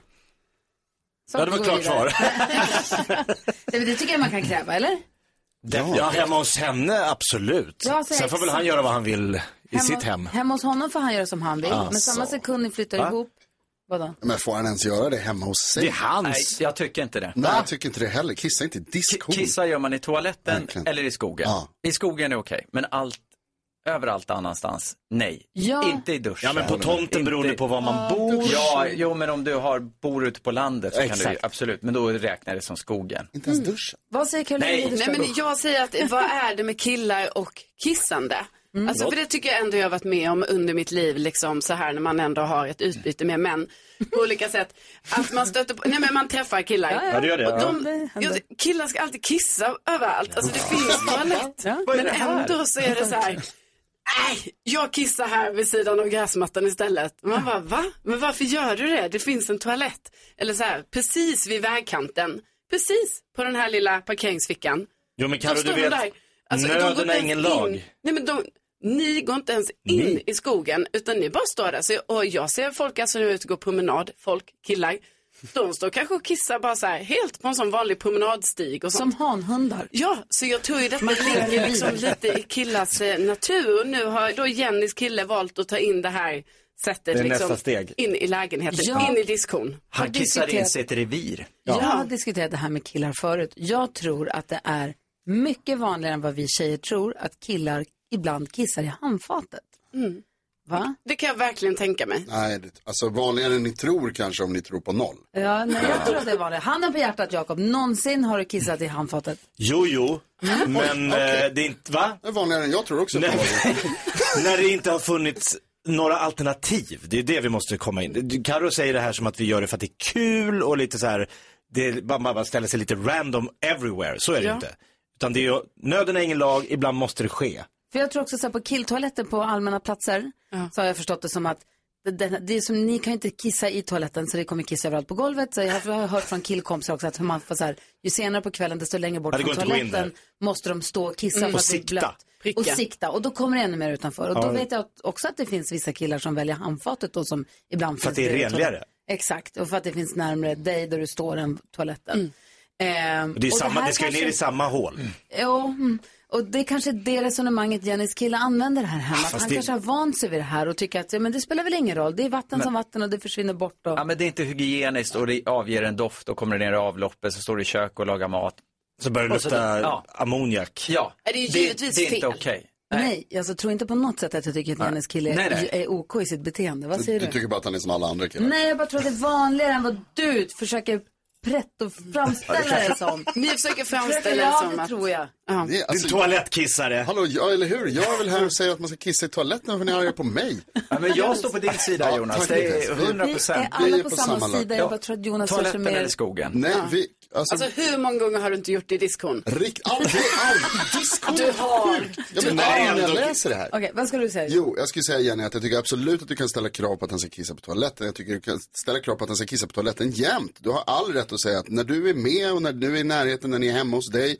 Så Ja, det var går klart vi vidare. Nej, men det tycker jag man kan kräva, eller? Ja. ja, hemma hos henne, absolut. Ja, så Sen får väl han exakt. göra vad han vill i sitt hem. Hemma hos honom får han göra som han vill. Men Alltså. samma sekund ni flyttar Va? ihop. Vadå? Men får han ens göra det hemma hos sig? Det är hans. Nej, jag tycker inte det. Nej, jag tycker inte det heller. Kissa inte i diskhon. Kissa gör man i toaletten eller i skogen. I skogen är okej, men allt, överallt annanstans, nej. Ja. Inte i duschen. Ja, men på tomten beror det på var man Ja, bor. Ja, jo, men om du har, bor ute på landet så kan du Exakt. absolut, men då räknar det som skogen. Inte ens Mm. duschen. Vad säger Caroline? Nej. Widerström? Nej men jag säger att vad är det med killar och kissande? Mm. Alltså för det tycker jag ändå jag har varit med om under mitt liv, liksom så här när man ändå har ett utbyte med män på olika sätt. Att man stöter på, nej men man träffar killar. Ja, ja. Ja, det gör det, Och ja. de, jag, killar ska alltid kissa överallt, alltså det finns toalett. Vad är Men det här? ändå så är det så här, nej, jag kissar här vid sidan av gräsmattan istället. Och Man bara, va? Men varför gör du det? Det finns en toalett. Eller så här, precis vid vägkanten, precis på den här lilla parkeringsfickan. Jo, men Karo, Då står du de vet, där. Alltså, de går nöden inte är ens ingen in. lag. Nej, men de, ni går inte ens in Ni? i skogen, utan ni bara står där. Så, och jag ser folk alltså nu ute och går promenad, folk, killar. De står kanske och kissar bara så här, helt på en sån vanlig promenadstig. Och Som sånt. hanhundar. Ja, så jag tror ju detta Man klämmer ligger liksom vidare. lite i killars eh, natur. Och nu har då Jennys kille valt att ta in det här sättet Det är liksom, nästa steg. in i lägenheten, Ja. in i diskon. Han Han Har kissar in diskuterat- sitt revir. Jag har diskuterat det här med killar förut. Jag tror att det är mycket vanligare än vad vi tjejer tror att killar ibland kissar i handfatet. Mm. Va? Det kan jag verkligen tänka mig. Nej, det, alltså vanligare än ni tror kanske om ni tror på noll. Ja, nej, jag tror att det är vanligt. Handen på hjärtat, Jakob. Någonsin har du kissat i handfatet? Jo, jo, Mm. men Oj, eh, det är inte, va? Det är vanligare än jag tror också. Nej, när det inte har funnits några alternativ, det är det vi måste komma in. Karo säger det här som att vi gör det för att det är kul och lite så här, det, man bara ställer sig lite random everywhere, så är det Ja. inte. Utan det är ju, nöden är ingen lag, ibland måste det ske. För jag tror också så här, på killtoaletter på allmänna platser så har jag förstått det som att det, det, det är som, ni kan inte kissa i toaletten så det kommer kissa överallt på golvet. Så jag har hört från killkompisar också att man får så här, ju senare på kvällen desto längre bort Ja, det från går inte att gå in toaletten måste de stå och kissa Mm. för Och att det är sikta. blött. Pricka. Och sikta. Och då kommer det ännu mer utanför. Och Ja. då vet jag att- också att det finns vissa killar som väljer handfatet då som ibland För att finns det är bredvid renligare. toaletten. Exakt, och för att det finns närmare dig där du står än toaletten. Mm. Ehm, Och det, är och samma, det, här ska ju ner kanske- i samma hål. Ja, mm. och det är kanske är det resonemanget Jennys kille använder här hemma. fast han det- kanske har vant sig vid det här och tycker att ja, men det spelar väl ingen roll. Det är vatten som vatten och det försvinner bort. Och... Ja, men det är inte hygieniskt och det avger en doft och kommer det ner i avloppet så står du i kök och lagar mat. Så börjar det lukta ammoniak. Ja, Är det ju givetvis det, det är inte fel. okej. Nej, jag alltså, tror inte på något sätt att jag tycker att Nej. Jennys kille Nej, nej. är OK i sitt beteende. Vad Du, säger du du? tycker bara att han är som alla andra killar. Nej, jag bara tror att det är vanligare än vad du försöker pretto framställa det som. Ni försöker framställa det Ja, som det att... tror jag. Det är- alltså- Din toalettkissare. Hallå, ja, eller hur? Jag är väl här och säger att man ska kissa i toaletten för ni är arga på mig. Ja, men jag står på din sida, Jonas. tack, Det är Niklas. Vi- 100%. Vi är alla på samma sida. Jag bara tror att Jonas Toaletten kanske mer- eller skogen? Nej, Ja. vi, alltså, Alltså hur många gånger har du inte gjort det i diskon? Rikt, aldrig, aldrig. Diskon Du har. jag blir Du har. arg när jag läser det här. Okej, vad ska du säga? Jo, jag skulle säga Jenny att jag tycker absolut att du kan ställa krav på att han ska kissa på toaletten. Jag tycker du kan ställa krav på att han ska kissa på toaletten jämt. Du har all rätt att säga att när du är med och när du är i närheten, när ni är hemma hos dig,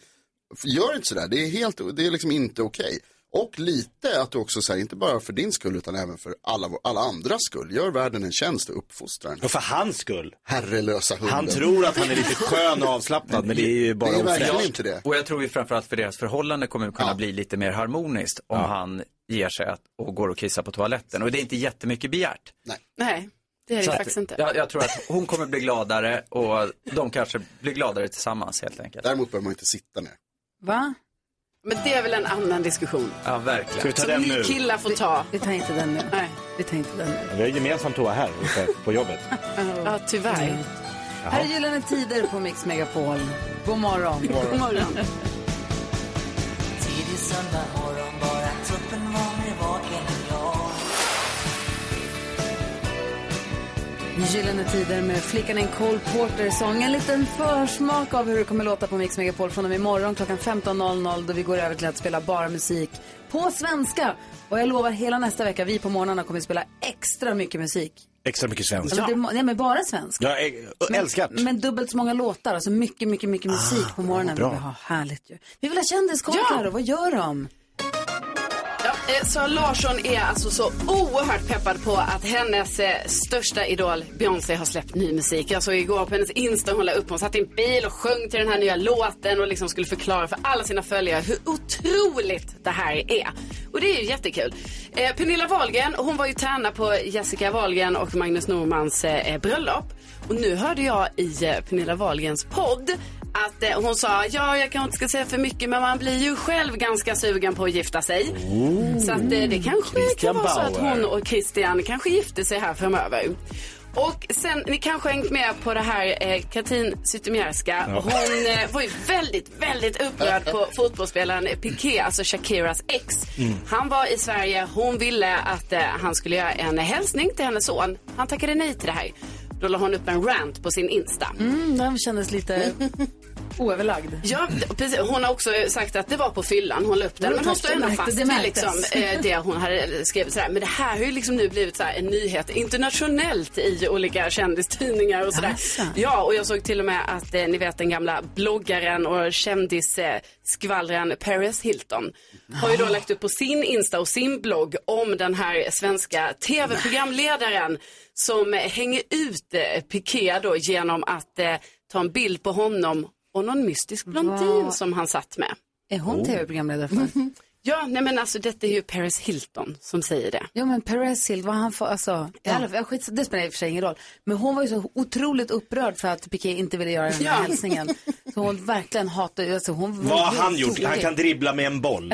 f- gör inte sådär. Det är helt, det är liksom inte okej. Och lite att du också säger, inte bara för din skull utan även för alla, vår- alla andras skull, gör världen en tjänst och uppfostrar den. Och för hans skull. Herrelösa hunden. Han tror att han är lite skön och avslappnad, men det är ju bara Det är ofräscht. verkligen inte det. Och jag tror ju framförallt för deras förhållande kommer att kunna bli lite mer harmoniskt om han ger sig att, och går och kissar på toaletten. Och det är inte jättemycket begärt. Nej, det är det Så att faktiskt inte. Jag, jag tror att hon kommer bli gladare och de kanske blir gladare tillsammans helt enkelt. Däremot behöver man inte sitta ner. Va? Men det är väl en annan diskussion. Ja, verkligen. Ska vi ta Som den ni nu? killar får ta. Vi tar inte den nu. Nej. Vi tar inte den nu. Vi har ju gemensam toa här uppe på jobbet. Ja, tyvärr. Här är Gyllene Tider på Mix Megapol. God morgon. God morgon. God morgon. Tidig söndag morgon, bara truppen var mer vaken än jag. Gyllene Tider med flickan en Cole Porter-sång. En liten försmak av hur det kommer låta på Mix Megapol från och med imorgon klockan 15.00 då vi går över till att spela bara musik på svenska. Och jag lovar, hela nästa vecka, vi på morgnarna kommer att spela extra mycket musik. Extra mycket svenskt. eh, Alltså, det, må- nej, men bara svenska. Jag äg- älskar. Men, men dubbelt så många låtar, alltså mycket, mycket, mycket musik på morgonen. Ah, bra. Vill vi, ha. härligt ju. vi vill ha kändiskompisar, ja. vad gör de? Ja, eh, Sara Larsson är alltså så oerhört peppad på att hennes eh, största idol Beyoncé har släppt ny musik. Jag såg igår på hennes Insta hon la upp, hon satt i en bil och sjöng till den här nya låten och liksom skulle förklara för alla sina följare hur otroligt det här är. Och det är ju jättekul. Eh, Pernilla Wahlgren, hon var ju tärna på Jessica Wahlgren och Magnus Normans eh, bröllop. Och nu hörde jag i eh, Pernilla Wahlgrens podd att eh, hon sa, ja jag kanske inte ska säga för mycket men man blir ju själv ganska sugen på att gifta sig. Så att, eh, det kanske Christian kan vara så att Bauer. hon och Christian kanske gifter sig här framöver. Och sen, ni kanske har hängt med på det här eh, Katrin Zytomierska. Ja. Hon eh, var ju väldigt, väldigt upprörd på fotbollsspelaren Piqué, alltså Shakiras ex. Mm. Han var i Sverige, hon ville att eh, han skulle göra en hälsning till hennes son. Han tackade nej till det här. Då la hon upp en rant på sin Insta. Mm, den kändes lite oöverlagd. Ja, d- precis. Hon har också eh, sagt att det var på fyllan hon la upp den. Jo, Men hon står det ändå märkte- fast det vid märktes. liksom, eh, det hon hade skrivit. Sådär. Men det här har ju liksom nu blivit såhär, en nyhet internationellt i olika kändistidningar och sådär. Jaså. Ja, och jag såg till och med att eh, ni vet den gamla bloggaren och kändisskvallren Paris Hilton har ju då lagt upp på sin Insta och sin blogg om den här svenska tv-programledaren som eh, hänger ut eh, Piqué då genom att eh, ta en bild på honom och någon mystisk blondin Vad? som han satt med. Är hon Oh. tv-programledare för? Ja, nej men alltså detta är ju Paris Hilton som säger det. Ja men Perez Hill, vad han får, alltså, i alla fall, skit, det spelar i och för sig ingen roll. Men hon var ju så otroligt upprörd för att Piqué inte ville göra den här Ja. hälsningen. Så hon verkligen hatade, alltså hon Vad har han gjort? Han kan dribbla med en boll.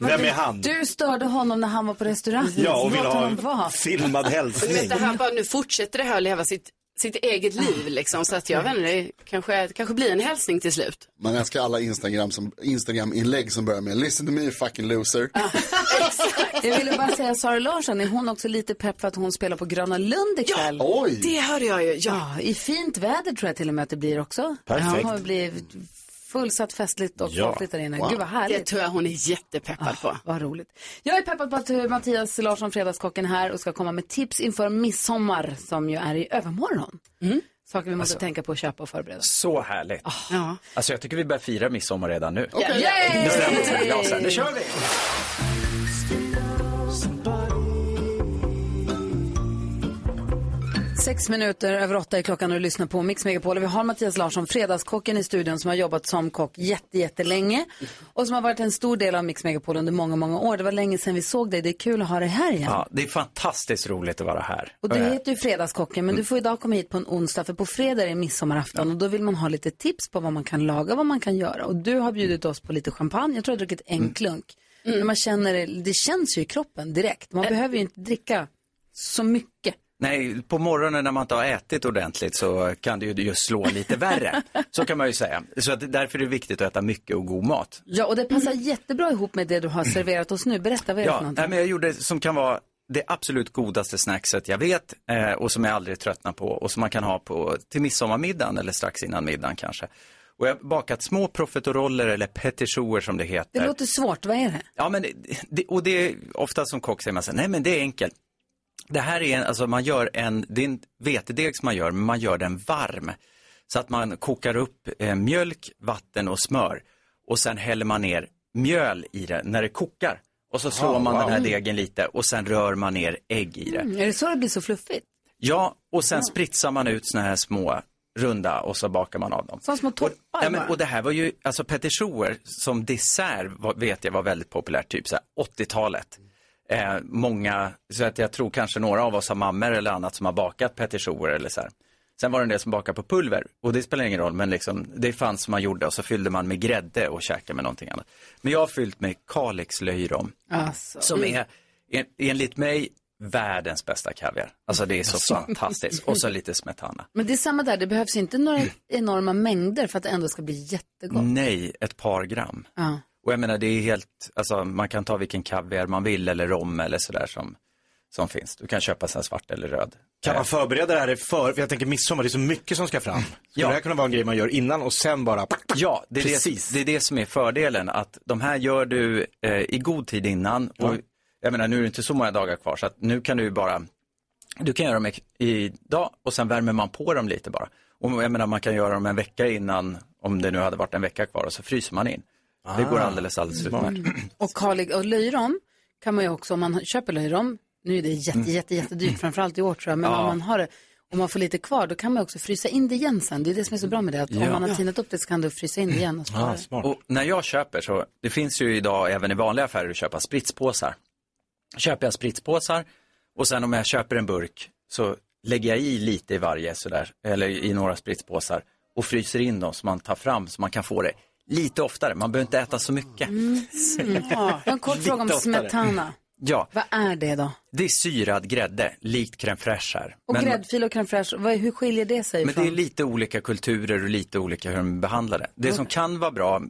Vem är han? Du störde honom när han var på restaurang. Ja, och vill Låt ha honom vara. en filmad Men hälsning. det här bara, nu fortsätter det här att leva sitt, sitt eget liv liksom. Så att jag vet inte, det kanske, det kanske blir en hälsning till slut. Man älskar alla Instagram som, Instagram-inlägg som börjar med Listen to me you fucking loser. Ah. Jag ville bara säga Sara Larsson, är hon också lite pepp för att hon spelar på Gröna Lund ikväll? Ja, oj. det hörde jag ju. Ja. I fint väder tror jag till och med att det blir också. Perfekt. Det kommer bli fullsatt festligt och Ja. folkligt där inne. Wow. Gud vad härligt. Ah. Det tror jag hon är jättepeppad på. Vad roligt. Jag är peppad på att eh, Mattias Larsson, Fredagskocken, är här och ska komma med tips inför midsommar som ju är i övermorgon. Saker vi måste Alltså. tänka på att köpa och förbereda. Så härligt. Ah, Ja. Alltså jag tycker vi börjar fira midsommar redan nu. Okej. Yay! Nu är det på glasen. Nu kör vi! Sex minuter över åtta är klockan och du lyssnar på Mix Megapol. Och Vi har Mattias Larsson, Fredagskocken i studion som har jobbat som kock jätte, jättelänge och som har varit en stor del av Mix Megapol under många, många år. Det var länge sedan vi såg dig. Det är kul att ha dig här igen. Ja, det är fantastiskt roligt att vara här. Och du Eh, heter ju Fredagskocken, men du får idag komma hit på en onsdag, för på fredag är det midsommarafton och då vill man ha lite tips på vad man kan laga, vad man kan göra. Och du har bjudit oss på lite champagne, jag tror jag har druckit en Mm. klunk. Men man känner, det- det känns ju i kroppen direkt, man behöver ju inte dricka så mycket. Nej, på morgonen när man inte har ätit ordentligt så kan det ju just slå lite värre. Så kan man ju säga. Så att därför är det viktigt att äta mycket och god mat. Ja, och det passar jättebra ihop med det du har serverat oss nu. Berätta, vad är det för Ja, någonting? nej, men jag gjorde som kan vara det absolut godaste snackset jag vet eh, och som jag aldrig tröttnar på och som man kan ha på, till midsommarmiddagen eller strax innan middagen kanske. Och jag har bakat små profiteroller eller petitioner som det heter. Det låter svårt, vad är det? Ja, men det, och det är ofta som kock säger man så här, nej men det är enkelt. Det här är en, alltså man gör en, det är en vetedeg som man gör, men man gör den varm. Så att man kokar upp eh, mjölk, vatten och smör och sen häller man ner mjöl i det när det kokar. Och så slår Ah, man den här wow. degen lite och sen rör man ner ägg i det. Mm, Är det så det blir så fluffigt? Ja, och sen spritsar man ut såna här små runda och så bakar man av dem. Som små torpar Ja, men, bara. och det här var ju, alltså petischoer som dessert var, vet jag var väldigt populärt, typ så här 80-talet. Eh, många, så att jag tror kanske några av oss har mammor eller annat som har bakat petischoer eller så här. Sen var det en del som bakade på pulver och det spelar ingen roll, men liksom, det fanns som man gjorde och så fyllde man med grädde och käkade med någonting annat. Men jag har fyllt med kalixlöjrom. Alltså. Som är en, enligt mig världens bästa kaviar. Alltså det är så fantastiskt. Och så lite smetana. Men det är samma där, det behövs inte några Mm. enorma mängder för att det ändå ska bli jättegott. Nej, ett par gram. Ja. Och jag menar det är helt, alltså man kan ta vilken kaviar man vill eller rom eller sådär som, som finns. Du kan köpa sen svart eller röd. Kan man förbereda det här i för, för jag tänker midsommar, det är så mycket som ska Mm. fram. Skulle det här kunna vara en grej man gör innan och sen bara... Ja, det är, Precis. Det, det är det som är fördelen, att de här gör du eh, i god tid innan. Och, Jag menar, nu är det inte så många dagar kvar, så att nu kan du ju bara, du kan göra dem i- idag och sen värmer man på dem lite bara. Och jag menar, man kan göra dem en vecka innan, om det nu hade varit en vecka kvar, och så fryser man in. Det går Ah, alldeles, alldeles Mm. utmärkt. Mm. Och, Kali- och löjrom kan man ju också, om man köper löjrom, nu är det jätte, jätte, jättedyrt, framförallt i år tror jag, men Mm. Ja. om man har det, om man får lite kvar, då kan man också frysa in det igen sen. Det är det som är så bra med det, att om Ja. man har Ja. tinat upp det så kan du frysa in det igen och spara. det. Och när jag köper så, det finns ju idag även i vanliga affärer att köpa spritspåsar. Köper jag spritspåsar och sen om jag köper en burk så lägger jag i lite i varje sådär, eller i några spritspåsar och fryser in dem så man tar fram så man kan få det lite oftare. Man behöver inte äta så mycket. Mm. Jag har en kort Lite fråga om oftare. smetana. Ja, Vad är det då? det är syrad grädde, likt crème fraîche här. Och Men- gräddfil och crème fraîche, vad- hur skiljer det sig men från? det är lite olika kulturer och lite olika hur de behandlar det. Det som kan vara bra,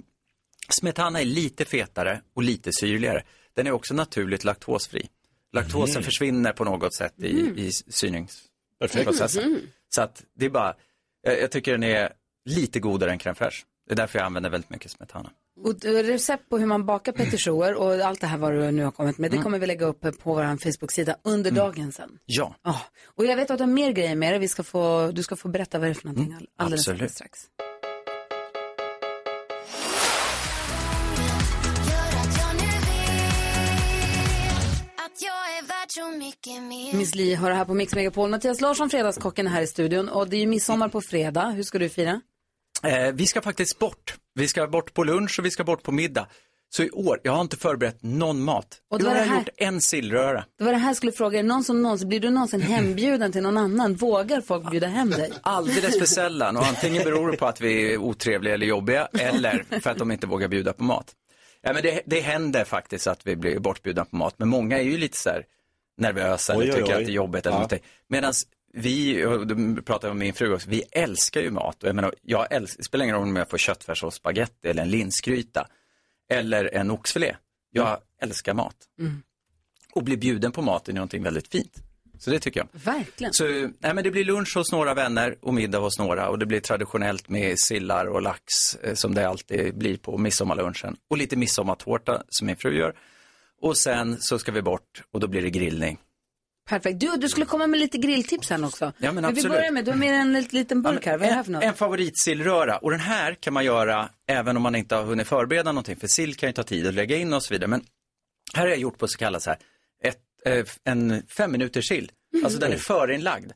smetana är lite fetare och lite syrligare. Den är också naturligt laktosfri. Laktosen Mm. försvinner på något sätt i, Mm. i syrningsprocessen. Mm. Mhm. Så att det är bara, jag, jag tycker den är lite godare än crème fraîche. Det är därför jag använder väldigt mycket smetana. Och du har recept på hur man bakar petischoer och allt det här vad du nu har kommit med, det Mm. kommer vi lägga upp på vår Facebook-sida under dagen sen. Ja, Och jag vet att du har mer grejer med dig. Vi ska få, du ska få berätta vad det är för Mm. någonting all- alldeles absolut. strax. Att jag är värd så mycket mer Miss Li hör här på Mix Megapol. Mattias Larsson, Fredagskocken, är här i studion. Och det är ju midsommar på fredag. Hur ska du fira? Eh, vi ska faktiskt bort. Vi ska bort på lunch och vi ska bort på middag. Så i år, jag har inte förberett någon mat. Och Och då då är har det jag här- gjort en sillröra. Det var det här jag skulle fråga. Är det någon som någonsin, blir du någonsin hembjuden till någon annan? Vågar folk bjuda hem dig? Alldeles för sällan och antingen beror det på att vi är otrevliga eller jobbiga eller för att de inte vågar bjuda på mat. Ja, men det, det händer faktiskt att vi blir bortbjudna på mat, men många är ju lite så här Oj, nervösa eller oj, tycker oj. att det är jobbigt eller Ja. någonting. Medan vi, och det pratar jag med min fru också, vi älskar ju mat. Och Jag menar, jag älskar, det spelar ingen roll om jag får köttfärs och spagetti eller en linsgryta eller en oxfilé. Jag älskar mat. Mm. Och bli bjuden på maten är någonting väldigt fint. Så det tycker jag. Verkligen. Så nej, men det blir lunch hos några vänner och middag hos några och det blir traditionellt med sillar och lax eh, som det alltid blir på midsommarlunchen och lite midsommartårta som min fru gör. Och sen så ska vi bort och då blir det grillning. Perfekt. Du, du skulle komma med lite grilltips här också. Ja, men vi absolut. börjar med, du har med dig en lit- liten burk här. Vad är det här för något? En favoritsillröra och den här kan man göra även om man inte har hunnit förbereda någonting för sill kan ju ta tid att lägga in och så vidare. Men här har jag gjort på så kallat så här, ett, eh, en fem minuters sill. Alltså den är förinlagd.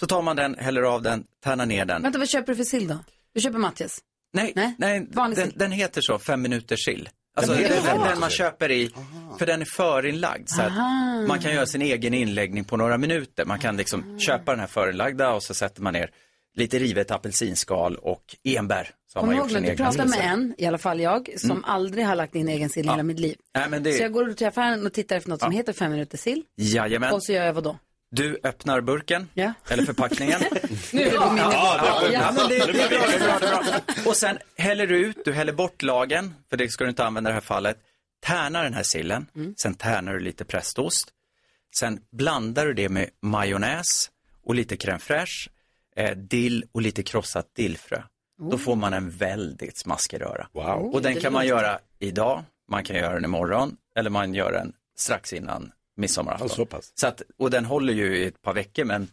Så tar man den, häller av den, tärnar ner den. Vänta, vad köper du för sill då? Du köper Mattias? Nej, nej, vanlig den, sill. den heter så, fem minuters sill. Alltså Den den, heter den, så? man köper i, för den är förinlagd. Så att Aha. Ah. man kan göra sin egen inläggning på några minuter. Man kan liksom köpa den här förinlagda och så sätter man ner lite rivet apelsinskal och enbär. Så har Kom man ihåg gjort nu, sin du egen pratar med recept. en, i alla fall jag, som Mm. aldrig har lagt in egen sill i hela mitt liv. Nej, men det... Så jag går ut till affären och tittar efter något som heter fem minuter sill. Jajamän. Och så gör jag vad då? Du öppnar burken, eller förpackningen. Nu är det på min nivå. Ja, Ja, ja, men men det- det, det är bra, det är bra, det är bra. Och sen häller du ut, du häller bort lagen, för det ska du inte använda i det här fallet. Tärna den här sillen, sen tärnar du lite prästost. Sen blandar du det med majonnäs och lite crème fraîche, eh, dill och lite krossat dillfrö. Då Oh. får man en väldigt smaskig röra. Wow. Och den Det kan man låter- göra idag, man kan göra den imorgon eller man gör den strax innan midsommarafton. Ja, så pass. Så att, och den håller ju i ett par veckor men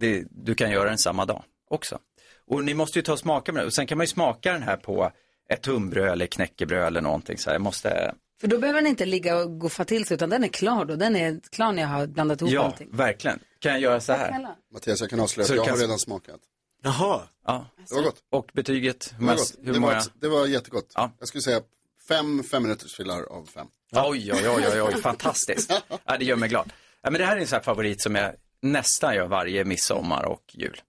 det, du kan göra den samma dag också. Och ni måste ju ta och smaka med den. Och sen kan man ju smaka den här på ett tunnbröd eller knäckebröd eller någonting så här. Jag måste För då behöver den inte ligga och goffa till sig utan den är klar då. Den är klar när jag har blandat ihop Ja, allting. verkligen. Kan jag göra så här? Snälla. Mattias, jag kan avslöja Så att jag du har kan- redan smakat. Jaha. Ja. Det var gott. Och betyget? Det var, Hur, många- gott. Det hur var, många? ett- det var jättegott. Jag skulle säga fem femminutersfilar av fem. Oj, oj, oj, oj, oj, fantastiskt. Ja, det gör mig glad. Ja, men det här är en sån här favorit som jag nästan gör varje midsommar och jul.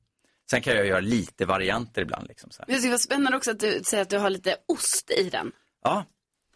Sen kan jag göra lite varianter ibland. Liksom, så här. Men det var spännande också att du säger att du har lite ost i den. Ja.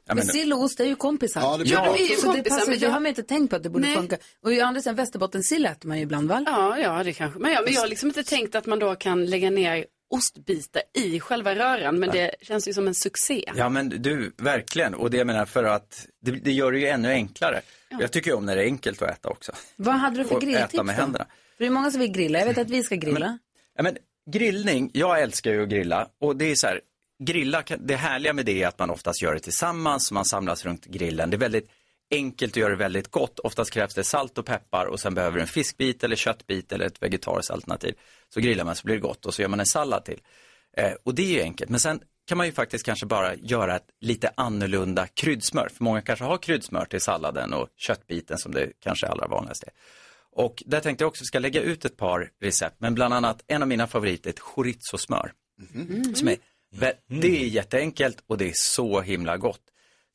Ja, Men men, sill och ost är ju kompisar. Ja, det blir Ja, bra. det är ju Så det kompisar, passar, men det jag- har man inte tänkt på att det borde Nej. funka. Och i andra sidan västerbottensill äter man ju ibland, va? Ja, ja, det kanske. Men, ja, men jag har liksom inte tänkt att man då kan lägga ner ostbitar i själva röran, men det känns ju som en succé. ja, men du, verkligen. Och det jag menar för att det, det gör det ju ännu enklare. Jag tycker ju om när det är enkelt att äta också. Vad hade du för Och grilltips äta med då? händerna. För det är många som vill grilla. Jag vet att vi ska grilla. Ja, men grillning, jag älskar ju att grilla och det är så här, grilla, kan- det härliga med det är att man oftast gör det tillsammans, man samlas runt grillen. Det är väldigt enkelt att göra det väldigt gott. Oftast krävs det salt och peppar och sen behöver du en fiskbit eller köttbit eller ett vegetariskt alternativ. Så grillar man så blir det gott och så gör man en sallad till. Eh, och det är ju enkelt, men sen kan man ju faktiskt kanske bara göra ett lite annorlunda kryddsmör. För många kanske har kryddsmör till salladen och köttbiten som det kanske är allra vanligast är. Och där tänkte jag också att vi ska lägga ut ett par recept, men bland annat en av mina favoriter är ett chorizo-smör. Mm, Mm. Som är, vä- det är jätteenkelt och det är så himla gott.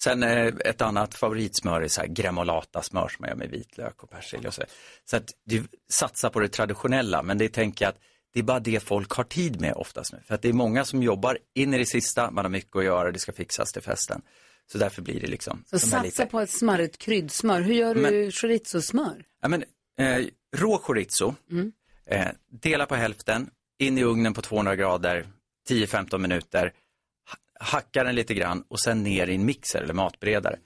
Sen eh, ett annat favoritsmör är så här gremolata-smör som man gör med vitlök och persilja och så. Så att du satsar på det traditionella, men det tänker jag att det är bara det folk har tid med oftast nu. För att det är många som jobbar in i det sista, man har mycket att göra, det ska fixas till festen. Så därför blir det liksom Så de här satsa på ett smörigt kryddsmör. Hur gör du Men- chorizo-smör? Ja, men, eh, rå chorizo, Mm. eh, dela på hälften, in i ugnen på 200 grader, 10-15 minuter, ha- hacka den lite grann och sen ner i en mixer eller matberedare.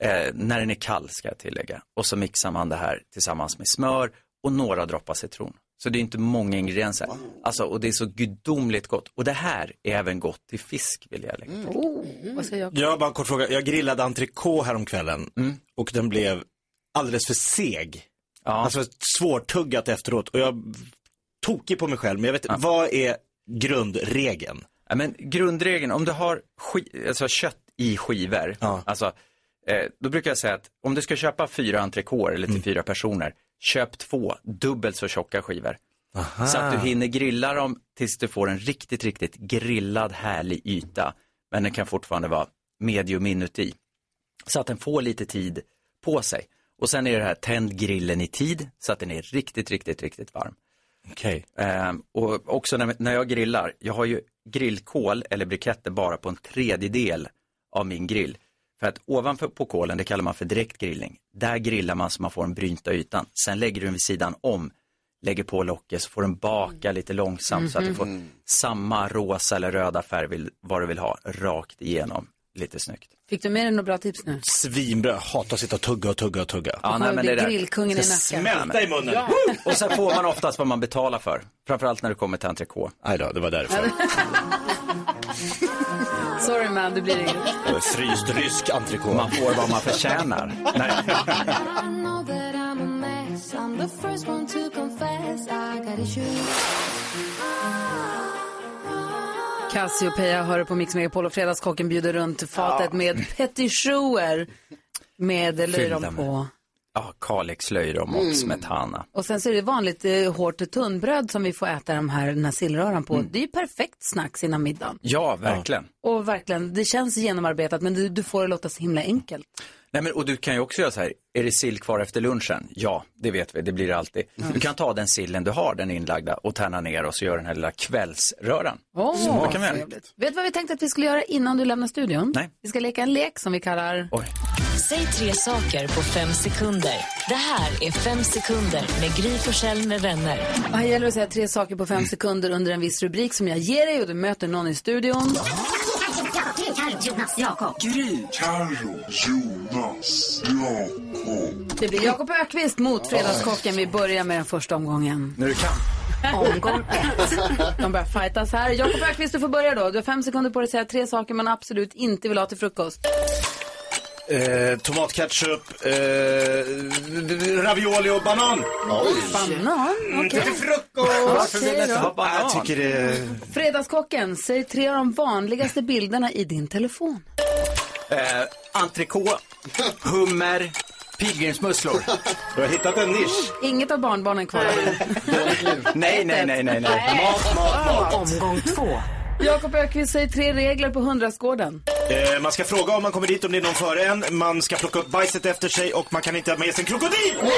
Eh, när den är kall ska jag tillägga. Och så mixar man det här tillsammans med smör och några droppar citron. Så det är inte många ingredienser. Alltså, och det är så gudomligt gott. Och det här är även gott till fisk vill jag lägga till. Oh, vad Mm. säger jag? Jag har Mm. bara en kort fråga. Jag grillade entrecote häromkvällen och den blev alldeles för seg. Alltså svårtuggat efteråt och jag tokig på mig själv. Men jag vet vad är grundregeln? Ja, men grundregeln, om du har ski- alltså kött i skivor, alltså, eh, då brukar jag säga att om du ska köpa fyra entrecôter eller till fyra personer, köp två dubbelt så tjocka skivor. Så att du hinner grilla dem tills du får en riktigt, riktigt grillad härlig yta. Men den kan fortfarande vara medium inuti. Så att den får lite tid på sig. Och sen är det här, tänd grillen i tid så att den är riktigt, riktigt, riktigt varm. Okej. Ehm, och också när, när jag grillar, jag har ju grillkol eller briketter bara på en tredjedel av min grill. För att ovanför på kolen, det kallar man för direkt grillning, där grillar man så man får den brynta ytan. Sen lägger du den vid sidan om, lägger på locket så får den baka lite långsamt så att du Mhm. får samma rosa eller röda färg vill, vad du vill ha rakt igenom. Lite snyggt. Fick du med dig några bra tips nu? Svinbra, hatar att sitta och tugga och tugga och tugga. Ja, nej, men det där. grillkungen i Det nacken. smälta i munnen. Ja. Och sen får man oftast vad man betalar för. Framförallt när det kommer till entrecote. Nej då, det var därför. Sorry man, det blir inget. Fryst rysk entrecote. Man får vad man förtjänar. I know that I'm a mess. I'm the first one to confess. I got issues. Cassiopeia hör på Mix Megapol och Fredagskocken bjuder runt fatet med petitioner med löjrom på. Ja, Kalix löjrom och Mm. smetana. Och sen så är det vanligt eh, hårt tunnbröd som vi får äta de här, den här sillröran på. Det är ju perfekt snacks innan middagen. Ja, verkligen. Och verkligen, det känns genomarbetat men du, du får det låta så himla enkelt. Nej, men, och du kan ju också göra så här, är det sill kvar efter lunchen? Ja, det vet vi, det blir det alltid. Mm. Du kan ta den sillen du har, den inlagda, och tärna ner och så gör den här lilla kvällsröran. Åh, så kan man göra. Vet du vad vi tänkte att vi skulle göra innan du lämnar studion? Nej. Vi ska leka en lek som vi kallar... Säg tre saker på fem sekunder. Det här är Fem sekunder med Gry Forssell med vänner. Och här gäller det att säga tre saker på fem sekunder under en viss rubrik som jag ger dig och du möter någon i studion. Jonas, Jakob. Gry, Carro, Jonas, Jakob. Det blir Jakob Ökvist mot Fredagskocken. Vi börjar med den första omgången. När du kan. Omgång ett. De börjar fightas här. Jakob Ökvist, du får börja då. Du har fem sekunder på dig att säga tre saker man absolut inte vill ha till frukost. Eh, tomatketchup, eh, ravioli och banan. Banan, okej. Inte till frukost! Okej då. Nej, Jag tycker det... Fredagskocken, säg tre av de vanligaste bilderna i din telefon. Eh, entrecote, hummer, pilgrimsmusslor. Du har hittat en nisch. Inget av barnbarnen kvar. Nej, nej, nej, nej. nej. Mat, mat, mat. Omgång två. Ah. Jakob Ökvist säger tre regler på hundrastgården. Eh, man ska fråga om man kommer dit om det är någon före en. Man ska plocka upp bajset efter sig och man kan inte ha med sig en krokodil.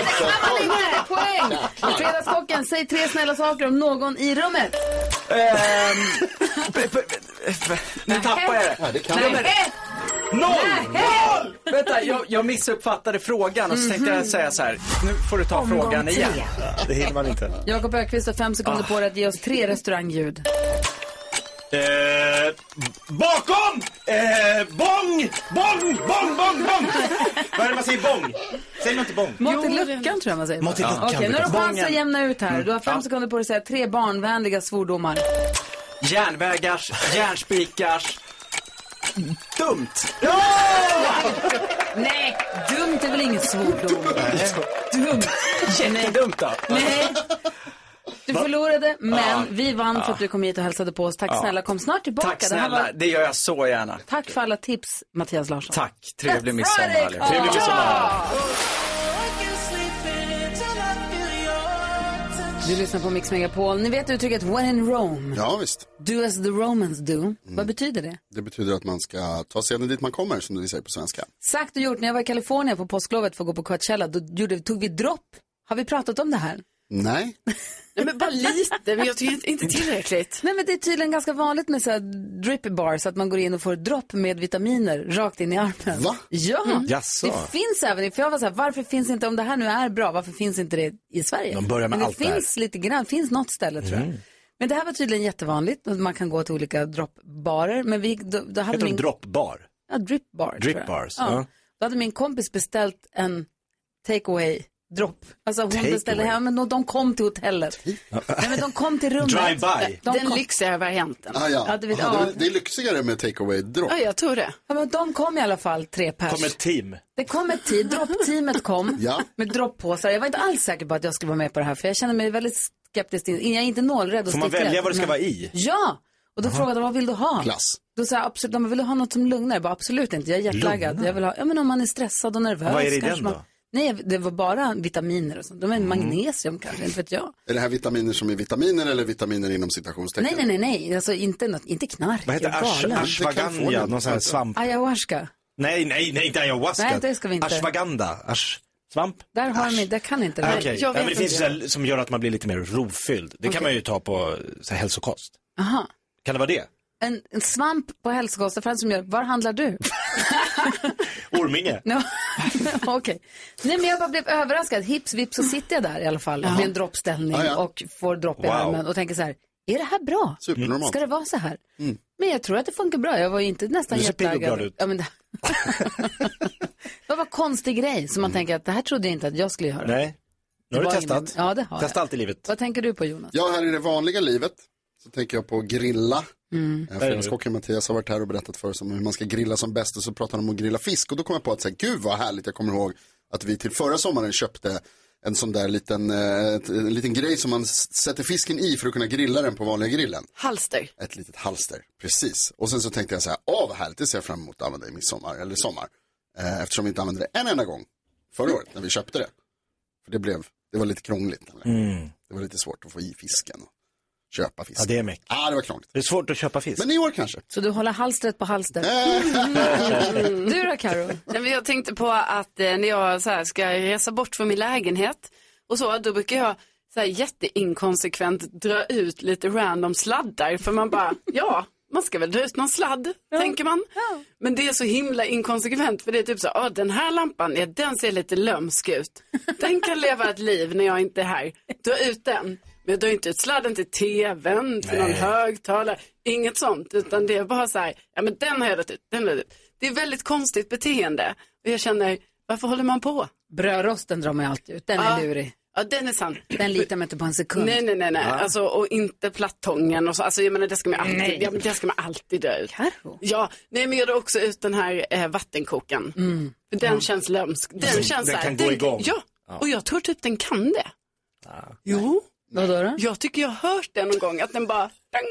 Poäng! Fredagskocken, säg tre snälla saker om någon i rummet. Ehm. Nu tappar jag det. Ja, det kan Ja, man. men- Noll! Noll! Vänta, jag, jag missuppfattade frågan och så tänkte jag säga så här. Nu får du ta Mhm. Omgång frågan igen. tre. Det hinner man inte. Jakob Ökvist har fem sekunder på dig att ge oss Ah. tre restaurangljud. Eh, bakom! Eh, bong! Bong, bong, bong, bong! Vad är det man säger bong? Säger man inte bong? Mått i luckan tror jag man säger. Mått i luckan Okej, nu har du brukar- chans att Bången. jämna ut här. Du har fem Mm. Ja. sekunder på dig att säga tre barnvänliga svordomar. Järnvägars, järnspikars. Dumt! Nej, dumt är väl inget svordom? Dumt. Jättedumt då. Nej. Du förlorade, men Ja. vi vann för att du kom hit och hälsade på oss. Tack Ja. snälla, kom snart tillbaka. Ah. Tack Det här snälla, var... det gör jag så gärna. Tack för alla tips, Mattias Larsson. Tack, trevlig midsommar Friday, allihopa. Carl. Trevlig midsommar. Du lyssnar på Mix Megapol. Ni vet uttrycket when in Rome. Ja, visst. Mm. Do as the Romans do. Vad betyder det? Det betyder att man ska ta seden dit man kommer, som vi säger på svenska. Sagt och gjort, när jag var i Kalifornien på påsklovet för att gå på Coachella, då gjorde, tog vi dropp. Har vi pratat om det här? Nej. Nej, men bara lite, men jag tycker inte tillräckligt. Nej, men det är tydligen ganska vanligt med så här drip bars, att man går in och får ett dropp med vitaminer rakt in i armen. Va? Ja, Mm. Jaså. det finns även, för jag var så här, varför finns inte, om det här nu är bra, varför finns inte det i Sverige? De börjar med men det allt det här. finns lite grann, finns något ställe tror jag. Mm. Men det här var tydligen jättevanligt, att man kan gå till olika droppbarer, men vi, då, då hade Heter de min... droppbar? Ja, drip bar. Drip tror jag. bars, Ja. ja. Då hade min kompis beställt en takeaway dropp. Alltså hon Take beställde away? hem, men de- de kom till hotellet. Nej, men de kom till rummet. Drive-by. De Den kom... lyxiga varianten. Ah, ja. Ja, du vet, Ah, ja. det, är- det är lyxigare med takeaway drop. Ja, jag tror det. Ja, men de kom i alla fall, tre pers. team. Det kom ett tid, droppteamet kom Ja. med droppåsar. Jag var inte alls säker på att jag skulle vara med på det här, för jag känner mig väldigt skeptisk. in- Jag är inte nålrädd och Får man stickrädd, välja vad det ska men- vara i? Ja, och då Aha. frågade de vad vill du ha? Glass. Då sa jag absolut, de vill du ha något som lugnar? Jag bara, absolut inte, jag är jetlaggad. Lugnar? Jag vill ha, ja men om man är stressad och nervös. Vad är det i kanske den man... då? Nej, det var bara vitaminer och sånt. De är Mm. magnesium kanske, inte vet jag. Är det här vitaminer som är vitaminer eller vitaminer inom citationstecken? Nej, nej, nej, nej, alltså inte, något, inte knark. Vad heter jag är ash- galen. ashwagandha? Någon sån här svamp. Ayahuasca. Nej, nej, nej, inte ayahuasca. Nej, det ska vi inte. Ashwagandha. Ash... Svamp? Där har de inte, jag kan inte. Ah, Okej, ja, men det finns ju så här som gör att man blir lite mer rovfylld. Det Okej. kan man ju ta på så här, hälsokost. Aha. Kan det vara det? En, en svamp på hälsokonferens som gör, var handlar du? Orminge? No. Okej. Nej men jag bara blev överraskad. Hips vips så sitter jag där i alla fall Jaha. med en droppställning Ja, ja. och får dropp i Wow. armen och tänker så här, är det här bra? Supernormalt. Ska det vara så här? Mm. Men jag tror att det funkar bra. Jag var ju inte nästan Du ser pigg och jetlaggad. glad ut. Ja, men det... det var en konstig grej som man tänker att det här trodde jag inte att jag skulle göra. Mm. Nej. Nu har du Det var testat. ingen- Ja, det har Testa jag. allt i livet. Vad tänker du på Jonas? Ja, här i det vanliga livet så tänker jag på grilla. Mm. Eh, Fredagskocken Mattias har varit här och berättat för oss om hur man ska grilla som bäst och så pratar de om att grilla fisk och då kom jag på att säga, gud vad härligt, jag kommer ihåg att vi till förra sommaren köpte en sån där liten, eh, ett- en liten grej som man s- sätter fisken i för att kunna grilla den på vanliga grillen. Halster. Ett litet halster, precis. Och sen så tänkte jag så här, åh vad härligt, det ser jag fram emot att använda i midsommar, eller sommar. Eh, Eftersom vi inte använde det en enda gång förra året när vi köpte det. För det blev, det var lite krångligt. Mm. Det var lite svårt att få i fisken och köpa fisk. Ja, det är mäktigt. Ja, det var krångligt. Det är svårt att köpa fisk. Men i år kanske. Så du håller halstret på halstret? Mm. Du då Karo? Nej, men jag tänkte på att eh, när jag så här, ska resa bort från min lägenhet och så, då brukar jag så här, jätteinkonsekvent dra ut lite random sladdar för man bara, ja, man ska väl dra ut någon sladd, tänker man. Men det är så himla inkonsekvent för det är typ så, ah, den här lampan, ja, den ser lite lömsk ut. Den kan leva ett liv när jag inte är här. Dra ut den. Men jag drar inte ut sladden till tvn, till någon Nej. högtalare, inget sånt. Utan det är bara så här, ja men den har jag dragit ut, den har jag dragit ut. Det är väldigt konstigt beteende. Och jag känner, varför håller man på? Brödrosten drar man ju alltid ut, den Ja. är lurig. Ja, den är sann. Den litar man inte på en sekund. Nej, nej, nej, nej. Ja. Alltså, och inte plattången och så. Alltså, jag menar, det ska man alltid, Nej. ja, men det ska man alltid dö ut. Ja, nej, men jag drar också ut den här eh, vattenkokaren. Mm. För Den känns lömsk. Den, Den- känns den så här, kan gå igång. Ja, Ja. Ah, och jag tror typ den kan det. Jo. Vadå då? Jag tycker jag har hört det någon gång, att den bara... Dang.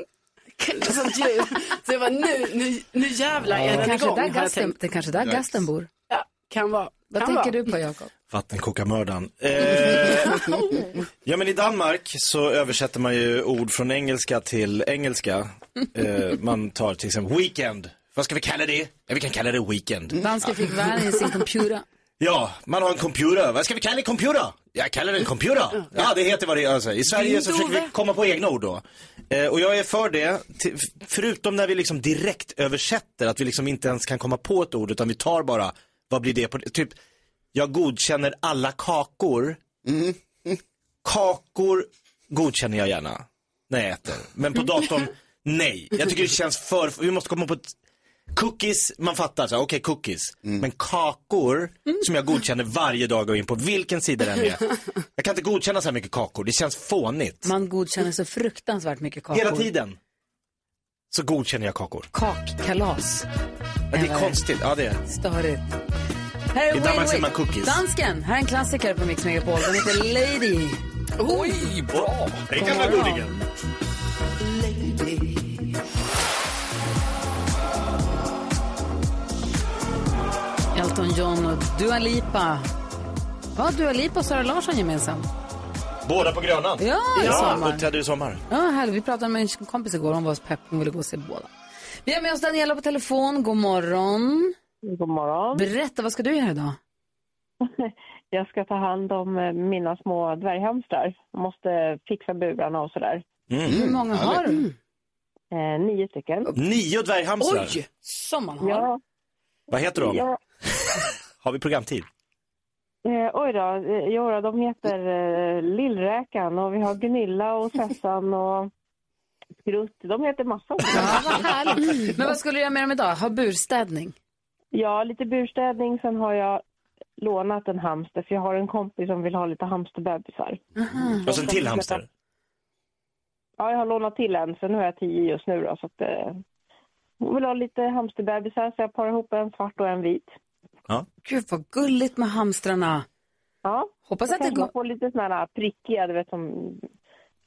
eller sånt ljud. Så jag bara, nu, nu, nu jävlar är den kanske igång. där har jag gasten, tänkt. Mm. det är kanske där Yikes. gasten bor. Ja, kan vara. Vad kan tänker vara. du på, Jakob? Vattenkokarmördaren. Eh, ja, men i Danmark så översätter man ju ord från engelska till engelska. Eh, man tar till exempel weekend. Vad ska vi kalla det? Ja, vi kan kalla det weekend. Dansken fick världen i sin computer. Ja, man har en computer. Vad ska vi kalla en computer? Jag kallar den computer. Ja, det heter vad det är. Alltså. I Sverige så försöker vi komma på egna ord då. Eh, och jag är för det, till, förutom när vi liksom direkt översätter att vi liksom inte ens kan komma på ett ord utan vi tar bara, vad blir det på det? Typ, jag godkänner alla kakor. Kakor godkänner jag gärna när jag äter. Men på datorn, nej. Jag tycker det känns för, vi måste komma på ett Cookies, man fattar så här, okej cookies. Men kakor som jag godkänner varje dag och går in på vilken sida den är. Jag kan inte godkänna så här mycket kakor, det känns fånigt. Man godkänner så fruktansvärt mycket kakor. Hela tiden så godkänner jag kakor. Kakkalas. Ja, det är konstigt, ja det är Störigt. Här är I Wayne Danmark säger man Wade. cookies. Dansken, här är en klassiker på Mix Megapol. Den heter Lady. Oj, bra! Den gamla God godingen. Elton John och Dua Lipa. Vad har Dua Lipa och Sara Larsson gemensamt? Båda på Grönan. Ja, i sommar. uppträder i sommar. Ja, härligt. Vi pratade med en kompis igår. Hon var så pepp. Hon ville gå och se båda. Vi har med oss Daniela på telefon. God morgon. God morgon. Berätta, vad ska du göra idag? Jag ska ta hand om eh, mina små dvärghamstrar. Jag måste fixa burarna och sådär. Mm. Hur många har du? Eh, nio stycken. Nio dvärghamstrar. Oj! Som man har. Ja, Vad heter de? ja, Har vi programtid? eh, oj då. Eh, Jodå, de heter eh, Lillräkan och vi har Gunilla och Sessan och Skrutt. De heter massa olika. Härligt. Mm. Men vad skulle du göra med dem idag? Ha burstädning? Ja, lite burstädning. Sen har jag lånat en hamster för jag har en kompis som vill ha lite hamsterbebisar. Och så en till hamster. Ja, jag har lånat till en, så nu har jag tio just nu. Då, så att, eh, hon vill ha lite hamsterbebisar, så jag parar ihop en svart och en vit. Gud, vad gulligt med hamstrarna. Ja, Hoppas då att det kanske går- man får lite sådana här prickiga, du vet som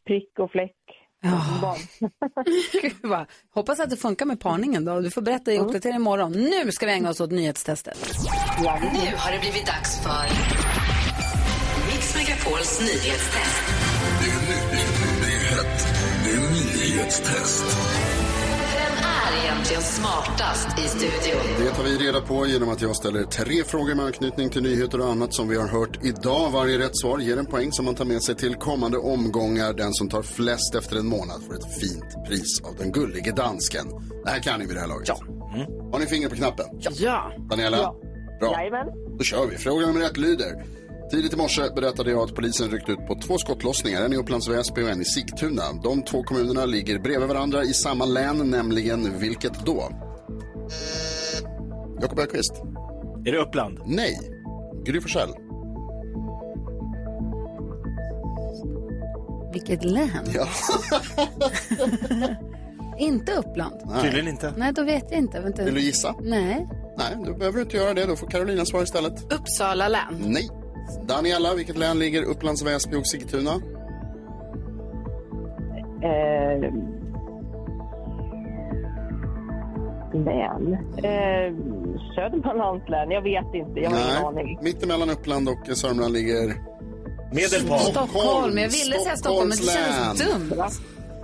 prick och fläck. Barn. Gud, vad. Hoppas att det funkar med parningen då. Du får berätta Mm. i uppdatering imorgon. Nu ska vi ägna oss åt nyhetstestet. Nu har det blivit dags för Mix Megapols nyhetstest. Det är nyhet, det är nyhetstest. Vem är egentligen smartast i studion? Det tar vi reda på genom att jag ställer tre frågor med anknytning till nyheter och annat som vi har hört idag. Varje rätt svar ger en poäng som man tar med sig till kommande omgångar. Den som tar flest efter en månad får ett fint pris av den gullige dansken. Det här kan ni vid det här laget. Ja. Har ni finger på knappen? Ja. Daniela? Ja. Bra. Jajamän. Då kör vi. Fråga nummer ett lyder. Tidigt i morse berättade jag att polisen ryckt ut på två skottlossningar, en i Upplands Väsby och en i Sigtuna. De två kommunerna ligger bredvid varandra i samma län, nämligen vilket då? Jakob Öqvist. Är det Uppland? Nej. Gry Forssell. Vilket län. Ja. inte Uppland. Nej. Tydligen inte. Nej, då vet jag inte. Vänta. Vill du gissa? Nej. Nej, då behöver du inte göra det. Då får Carolina svara istället. Uppsala län. Nej. Daniela, vilket län ligger Upplands Väsby och Sigtuna? Eh, län. Eh, Södermanlands län. Jag vet inte. Jag har ingen aning. Mittemellan Uppland och Sörmland ligger... Medelpad. Stockholm. Jag ville säga Stockholm, men det känns Stockholms dumt.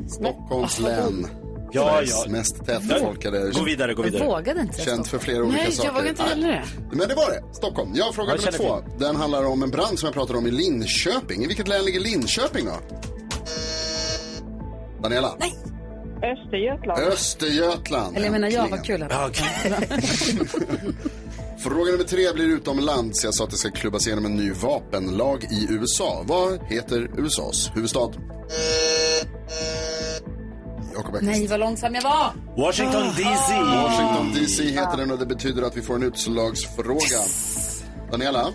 Stockholms län. Ja, Sveriges ja. mest tätbefolkade. Gå vidare, gå vidare. Jag vågade inte säga Känt för flera olika Nej, saker. jag vågar inte heller det. Men det var det. Stockholm. Jag frågar Jag nummer två. känner Den handlar om en brand som jag pratade om i Linköping. I vilket län ligger Linköping då? Daniela? Nej. Östergötland. Östergötland. Eller jag menar jag, vad kul. Ja, Fråga nummer tre blir utomlands. Jag sa att det ska klubbas igenom en ny vapenlag i USA. Vad heter USAs huvudstad? Jakob Ekqvist. Nej, vad långsam jag var. Ah. Washington Ah. DC. Washington DC heter den och det betyder att vi får en utslagsfråga. Daniela?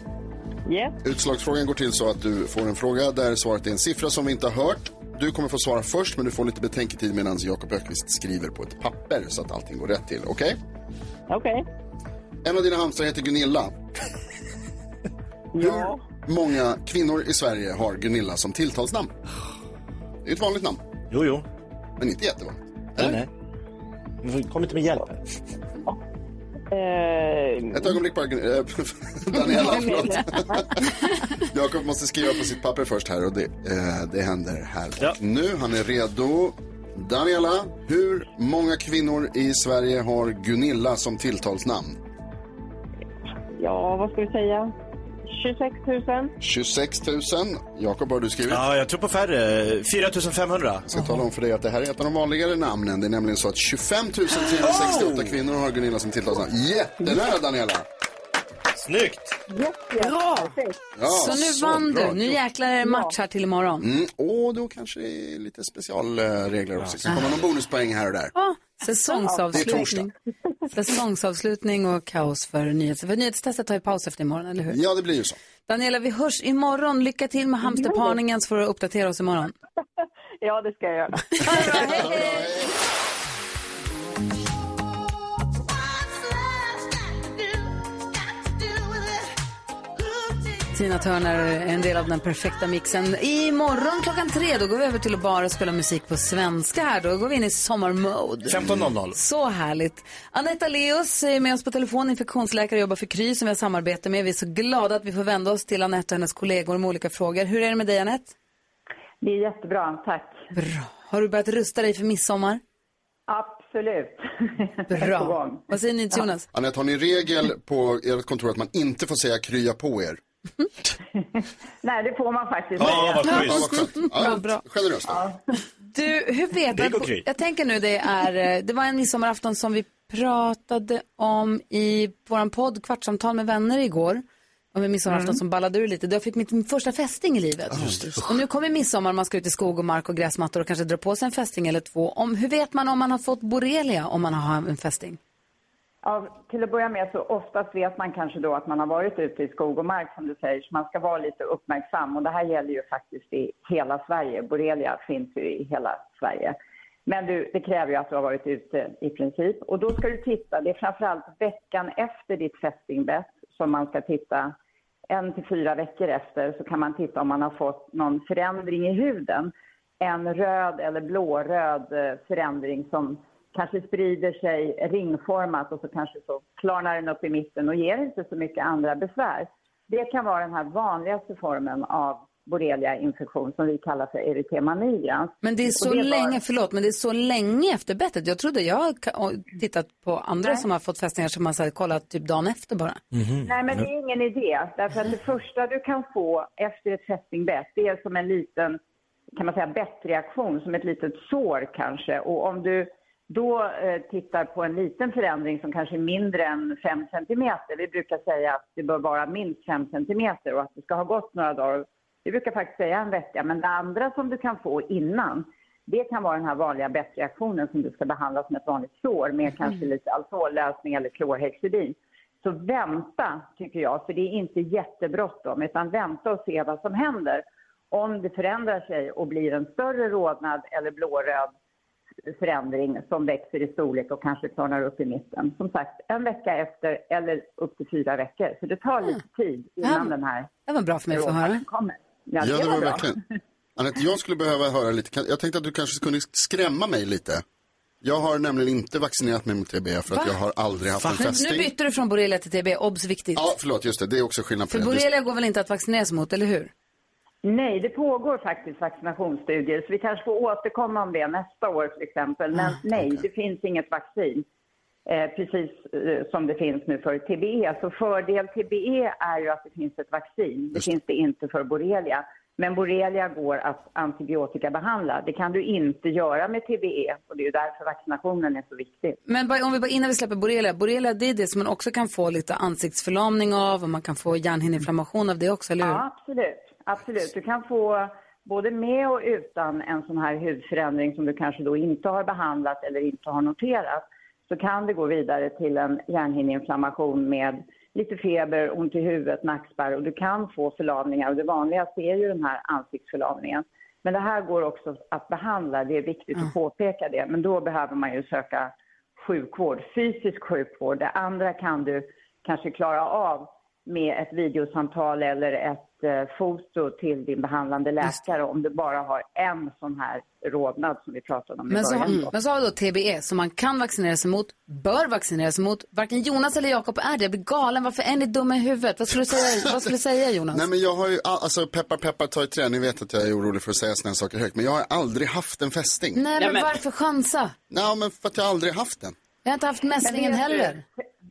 Yeah. Utslagsfrågan går till så att du får en fråga där svaret är en siffra som vi inte har hört. Du kommer få svara först men du får lite betänketid medan Jakob Ökvist skriver på ett papper så att allting går rätt till. Okej? Okej. En av dina hamstrar heter Gunilla. Ja. Hur många kvinnor i Sverige har Gunilla som tilltalsnamn? Det är ett vanligt namn. Jo, jo. Men inte jättevanligt. Eller? Nej. Men Kom inte med hjälp. Ett ögonblick bara, eh, Daniela, förlåt. Jakob måste skriva på sitt papper först här och det, eh, det händer här och nu. Han är redo. Daniela, hur många kvinnor i Sverige har Gunilla som tilltalsnamn? Ja, vad ska vi säga? 26 000. 26 000. Jakob, har du skrivit? Ja, jag tror på färre. 4 500. Jag ska tala om för dig att det här är ett av de vanligare namnen. Det är nämligen så att 25 368 Oh! kvinnor har Gunilla som tilltalsnamn. Jättenära, Daniela! Snyggt! Bra! Ja, så nu så vann bra. du. Nu jäklar är det match här till imorgon. Mm, och då kanske det är lite specialregler också. Så kommer någon bonuspoäng här och där. Ja, Det är torsdag. Säsongsavslutning. Säsongsavslutning och kaos för nyhetstestet. För nyhetstestet tar ju paus efter imorgon, eller hur? Ja, det blir ju så. Daniela, vi hörs imorgon. Lycka till med hamsterparningen så får du uppdatera oss imorgon. Ja, det ska jag göra. Tina Turner är en del av den perfekta mixen. Imorgon klockan tre, då går vi över till att bara spela musik på svenska här. Då går vi in i sommarmode. 15.00. Så härligt. Anetta Leos är med oss på telefon, infektionsläkare och jobbar för Kry som vi har samarbete med. Vi är så glada att vi får vända oss till Anette och hennes kollegor med olika frågor. Hur är det med dig Anette? Det är jättebra, tack. Bra. Har du börjat rusta dig för midsommar? Absolut. Bra. Vad säger ni till Jonas? Anette, har ni regel på ert kontor att man inte får säga krya på er? Nej, det får man faktiskt. Ja, vad schysst. Ja, vad skönt. Ja, Vad bra. Generöst. Du, hur vet Pigg och jag? kry. Jag tänker nu, det är, eh, det var en midsommarafton som vi pratade om i vår podd Kvartsamtal med vänner igår. Om en midsommarafton Mm. som ballade ur lite. Då jag fick mitt, min första fästing i livet. Och nu kommer midsommar, man ska ut i skog och mark och gräsmattor och kanske dra på sig en fästing eller två. Om, hur vet man om man har fått borrelia om man har en fästing? Ja, till att börja med så oftast vet man kanske då att man har varit ute i skog och mark som du säger, så man ska vara lite uppmärksam. Och det här gäller ju faktiskt i hela Sverige. Borrelia finns ju i hela Sverige. Men du, det kräver ju att du har varit ute i princip. Och då ska du titta, det är framförallt veckan efter ditt fästingbett som man ska titta. En till fyra veckor efter så kan man titta om man har fått någon förändring i huden. En röd eller blåröd eh, förändring som kanske sprider sig ringformat och så kanske så klarnar den upp i mitten och ger inte så mycket andra besvär. Det kan vara den här vanligaste formen av borrelia-infektion som vi kallar för erytema nigrans. Men det är så Och var- länge, förlåt, men det är så länge efter bettet. Jag trodde, jag har ka- tittat på andra som har fått fästingar som man så här, kollat typ dagen efter bara. Nej, men det är ingen idé. Därför att det första du kan få efter ett fästingbett, det är som en liten, kan man säga, bettreaktion, som ett litet sår kanske. Och om du då eh, tittar på en liten förändring som kanske är mindre än 5 centimeter, vi brukar säga att det bör vara minst 5 centimeter och att det ska ha gått några dagar. Vi brukar faktiskt säga en vecka, men det andra som du kan få innan, det kan vara den här vanliga bettreaktionen som du ska behandla som ett vanligt sår med kanske lite alkohollösning eller klorhexidin. Så vänta, tycker jag, för det är inte jättebråttom, utan vänta och se vad som händer. Om det förändrar sig och blir en större rodnad eller blåröd förändring som växer i storlek och kanske klarnar upp i mitten. Som sagt, en vecka efter eller upp till fyra veckor. Så det tar lite tid innan den här Det var bra för mig att få rodnaden höra. kommer. Ja, det var bra. verkligen. Anette, jag skulle behöva höra lite. kan- Jag tänkte att du kanske kunde skrämma mig lite. Jag har nämligen inte vaccinerat mig mot TB för att Va? jag har aldrig haft en Nu, nu fästing. bytte du från borrelia till TB, obs viktigt. Ja, förlåt, just det. Det är också skillnad på För det. Just- borrelia går väl inte att vaccineras mot, eller hur? Nej, det pågår faktiskt vaccinationsstudier, så vi kanske får återkomma om det nästa år till exempel. Men nej, det finns inget vaccin, eh, precis eh, som det finns nu för TBE. Så fördel TBE är ju att det finns ett vaccin. Det finns det inte för borrelia. Men borrelia går att antibiotikabehandla. Det kan du inte göra med TBE och det är ju därför vaccinationen är så viktig. Men bara, om vi bara, innan vi släpper borrelia, borrelia det är det som man också kan få lite ansiktsförlamning av och man kan få hjärnhinneinflammation av det också, eller hur? Ja, absolut. absolut. Du kan få både med och utan en sån här hudförändring som du kanske då inte har behandlat eller inte har noterat, så kan det gå vidare till en hjärnhinneinflammation med lite feber, ont i huvudet, nackspärr och du kan få förlamningar och det vanligaste är ju den här ansiktsförlamningen. Men det här går också att behandla, det är viktigt att påpeka det, men då behöver man ju söka sjukvård, fysisk sjukvård. Det andra kan du kanske klara av med ett videosamtal eller ett eh, foto till din behandlande läkare om du bara har en sån här rodnad som vi pratade om i Men så, början. har, men så har vi då TBE som man kan vaccinera sig mot, bör vaccinera sig mot. Varken Jonas eller Jakob är det. Jag blir galen. Varför är ni dumma i huvudet? Vad skulle du säga, vad skulle du säga Jonas? Nej men jag har ju, all- alltså peppar peppar tar i trä, ni vet att jag är orolig för att säga sådana saker högt, men jag har aldrig haft en fästing. Nej, men varför chansa? Nej men för att jag aldrig haft den. Jag har inte haft mässlingen Men vet du- heller.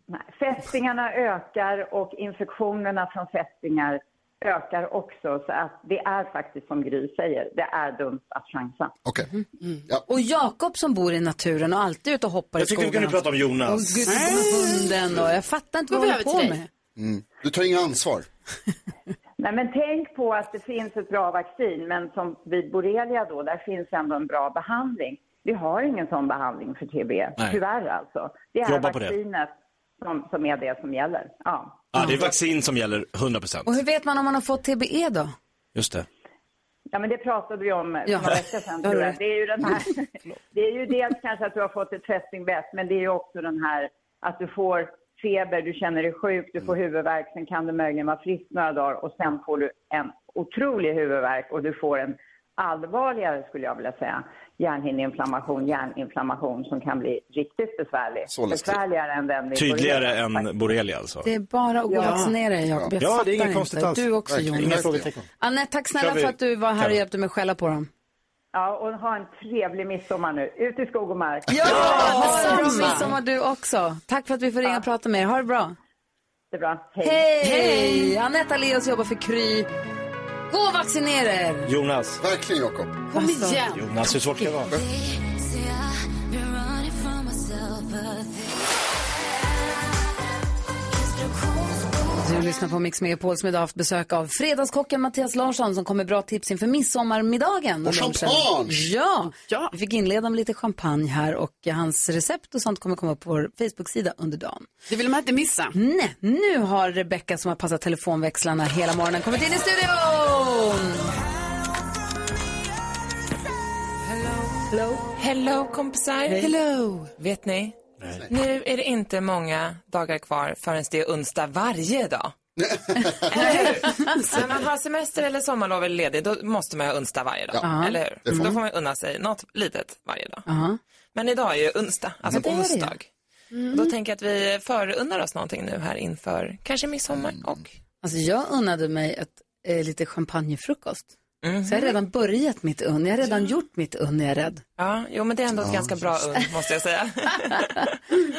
Nej, Fästingarna ökar och infektionerna från fästingar ökar också. Så att det är faktiskt som Gry säger, det är dumt att chansa. Okej. Mm. Och Jakob som bor i naturen och alltid ute och hoppar Jag i skogen. tyckte vi kunde prata om Jonas. Och gud, så kommer hunden och jag fattar inte vad Går vi vi håller över på till med. Mm. Du tar inga ansvar. Nej, men tänk på att det finns ett bra vaccin, men som vid borrelia då, där finns ändå en bra behandling. Vi har ingen sån behandling för TB, Nej. tyvärr alltså. Det är Jobba på det. vaccinet som, som är det som gäller. Ja. Ja, det är vaccin som gäller 100%. Och hur vet man om man har fått TBE då? Just det. Ja, men det pratade vi om för Ja. några veckor sedan, Ja, Mm. det tror jag. är- Det är ju den här... Det är ju dels kanske att du har fått ett fästingbett, men det är ju också den här att du får feber, du känner dig sjuk, du Mm. får huvudvärk, sen kan du möjligen vara frisk några dagar och sen får du en otrolig huvudvärk och du får en allvarligare, skulle jag vilja säga, hjärnhinneinflammation, hjärninflammation som kan bli riktigt besvärlig. Så läskigt. Besvärligare än den vi Tydligare började. än borrelia alltså. Det är bara att gå och Ja. vaccinera dig Jakob. Jag Ja, det är fattar inget inte. konstigt alls. Du också Verkligen. Inga Jonas. frågetecken. Anette, tack snälla Kör vi. för att du var här Karo. och hjälpte mig skälla på dem. Ja, och ha en trevlig midsommar nu. Ut i skog och mark. ha en bra midsommar du också. Tack för att vi får ringa och prata med er. Ha det bra. Det är bra. Hej! Hej! Anette Aleus jobbar för Kry. Gå och vaccinera er! Jonas. Alltså, Verkligen Jakob. Kom igen. Jonas, hur svårt ska det vara? Du lyssnar på Mix Megapol som idag haft besök av fredagskocken Mattias Larsson som kom med bra tips inför midsommarmiddagen. Och champagne! lunchen. Ja. ja! Vi fick inleda med lite champagne här och hans recept och sånt kommer komma upp på vår Facebook-sida under dagen. Det vill man inte missa. Nej, nu har Rebecka som har passat telefonväxlarna hela morgonen kommit in i studion! Hello. Hello kompisar. Hej. Hello. Vet ni? Nu är det inte många dagar kvar förrän det är onsdag varje dag. Alltså. När man har semester eller sommarlov eller ledig då måste man ha onsdag varje dag. Ja, Mm. eller hur? det får Då man. får man unna sig något litet varje dag. Ja. Men idag är ju onsdag, alltså Ja, det är det. onsdag. Och Då tänker jag att vi förunnar oss någonting nu här inför kanske midsommar och Alltså jag unnade mig ett, eh, lite champagnefrukost. Mm. Så jag har redan börjat mitt unn. Jag har redan gjort mitt unn, jag är rädd. Ja, jo men det är ändå ett ganska bra ugn måste jag säga.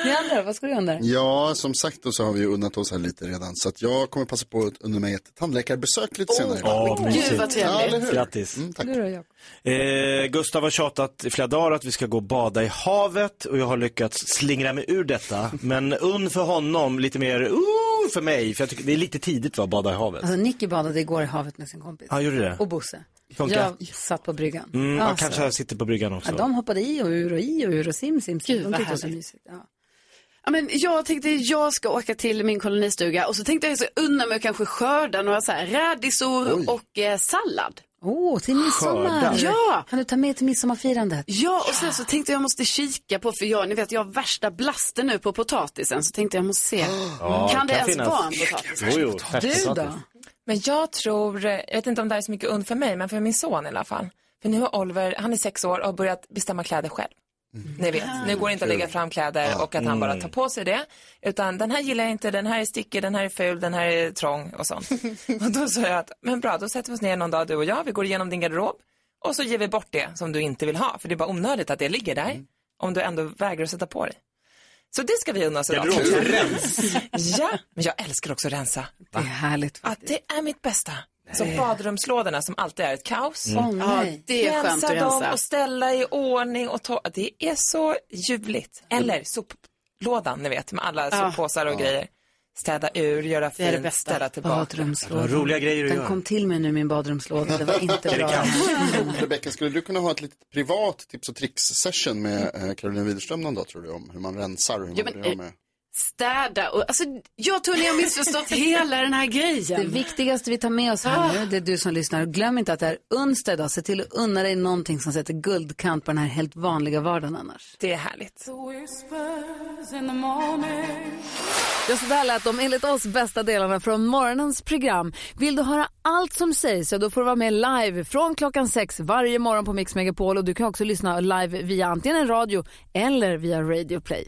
Ni andra, vad ska du göra där? Ja, som sagt då så har vi ju unnat oss här lite redan. Så att jag kommer passa på att unna mig ett tandläkarbesök lite senare. vad Gud, mysigt. vad trevligt. Ja, eller hur? Grattis. Mm, tack. Eh, Gustav har tjatat i flera dagar att vi ska gå och bada i havet och jag har lyckats slingra mig ur detta. Men unn för honom, lite mer uh, för mig, för jag tycker det är lite tidigt va, att bada i havet. Alltså Nicky badade igår i havet med sin kompis. Ja, gjorde det? Och Bosse. Funkar? Jag satt på bryggan. Mm, jag Alltså, kanske jag sitter på bryggan ja, också. de hoppade i och ur och i och ur och sim, sim, sim. Gud, de vad tyckte det var så härligt. mysigt. Ja. Ja, men jag tänkte jag ska åka till min kolonistuga och så tänkte jag så unna mig att kanske skörda några så här rädisor och eh, sallad. Åh, till midsommar. Skördar. Ja! Kan du ta med till midsommarfirandet? Ja, och sen så tänkte jag jag måste kika på, för jag, ni vet jag har värsta blasten nu på potatisen, så tänkte jag måste se, Ja, kan det kan ens finnas. vara en potatis? Jo, jo, du då? Men jag tror, jag vet inte om det här är så mycket und för mig, men för min son i alla fall. För nu har Oliver, han är sex år och har börjat bestämma kläder själv. Ni vet, nu går det inte att lägga fram kläder och att han bara tar på sig det. Utan den här gillar jag inte, den här är stickig, den här är ful, den här är trång och sånt. och då sa jag att, men bra, då sätter vi oss ner någon dag du och jag, vi går igenom din garderob. Och så ger vi bort det som du inte vill ha, för det är bara onödigt att det ligger där. Mm. Om du ändå vägrar att sätta på dig. Så det ska vi unna oss idag. Ja, men jag älskar också att rensa. Det är härligt. Att det är mitt bästa. Så badrumslådorna som alltid är ett kaos. Mm. Åh, nej. Ja, det är skönt att rensa. dem och ställa i ordning och ta. Det är så ljuvligt. Mm. Eller soplådan, ni vet, med alla Ja. soppåsar och Ja. grejer. Städa ur, göra är det fint, bästa. ställa tillbaka. Badrumslådan. Roliga grejer att Den göra. kom till mig nu, min badrumslåda. Det var inte bra. Rebecka, skulle du kunna ha ett litet privat tips och tricks session med eh, Caroline Widerström någon dag tror du om hur man rensar och hur Ja, man men, blir av eh, med? städa och alltså jag tror ni har missförstått hela den här grejen. Det viktigaste vi tar med oss här nu, det är du som lyssnar. Glöm inte att det är onsdag idag. Se till att unna dig någonting som sätter guldkant på den här helt vanliga vardagen annars. Det är härligt. Ja, så där lät de enligt oss bästa delarna från morgonens program. Vill du höra allt som sägs så då får du vara med live från klockan sex varje morgon på Mix Megapol och du kan också lyssna live via antingen en radio eller via Radio Play.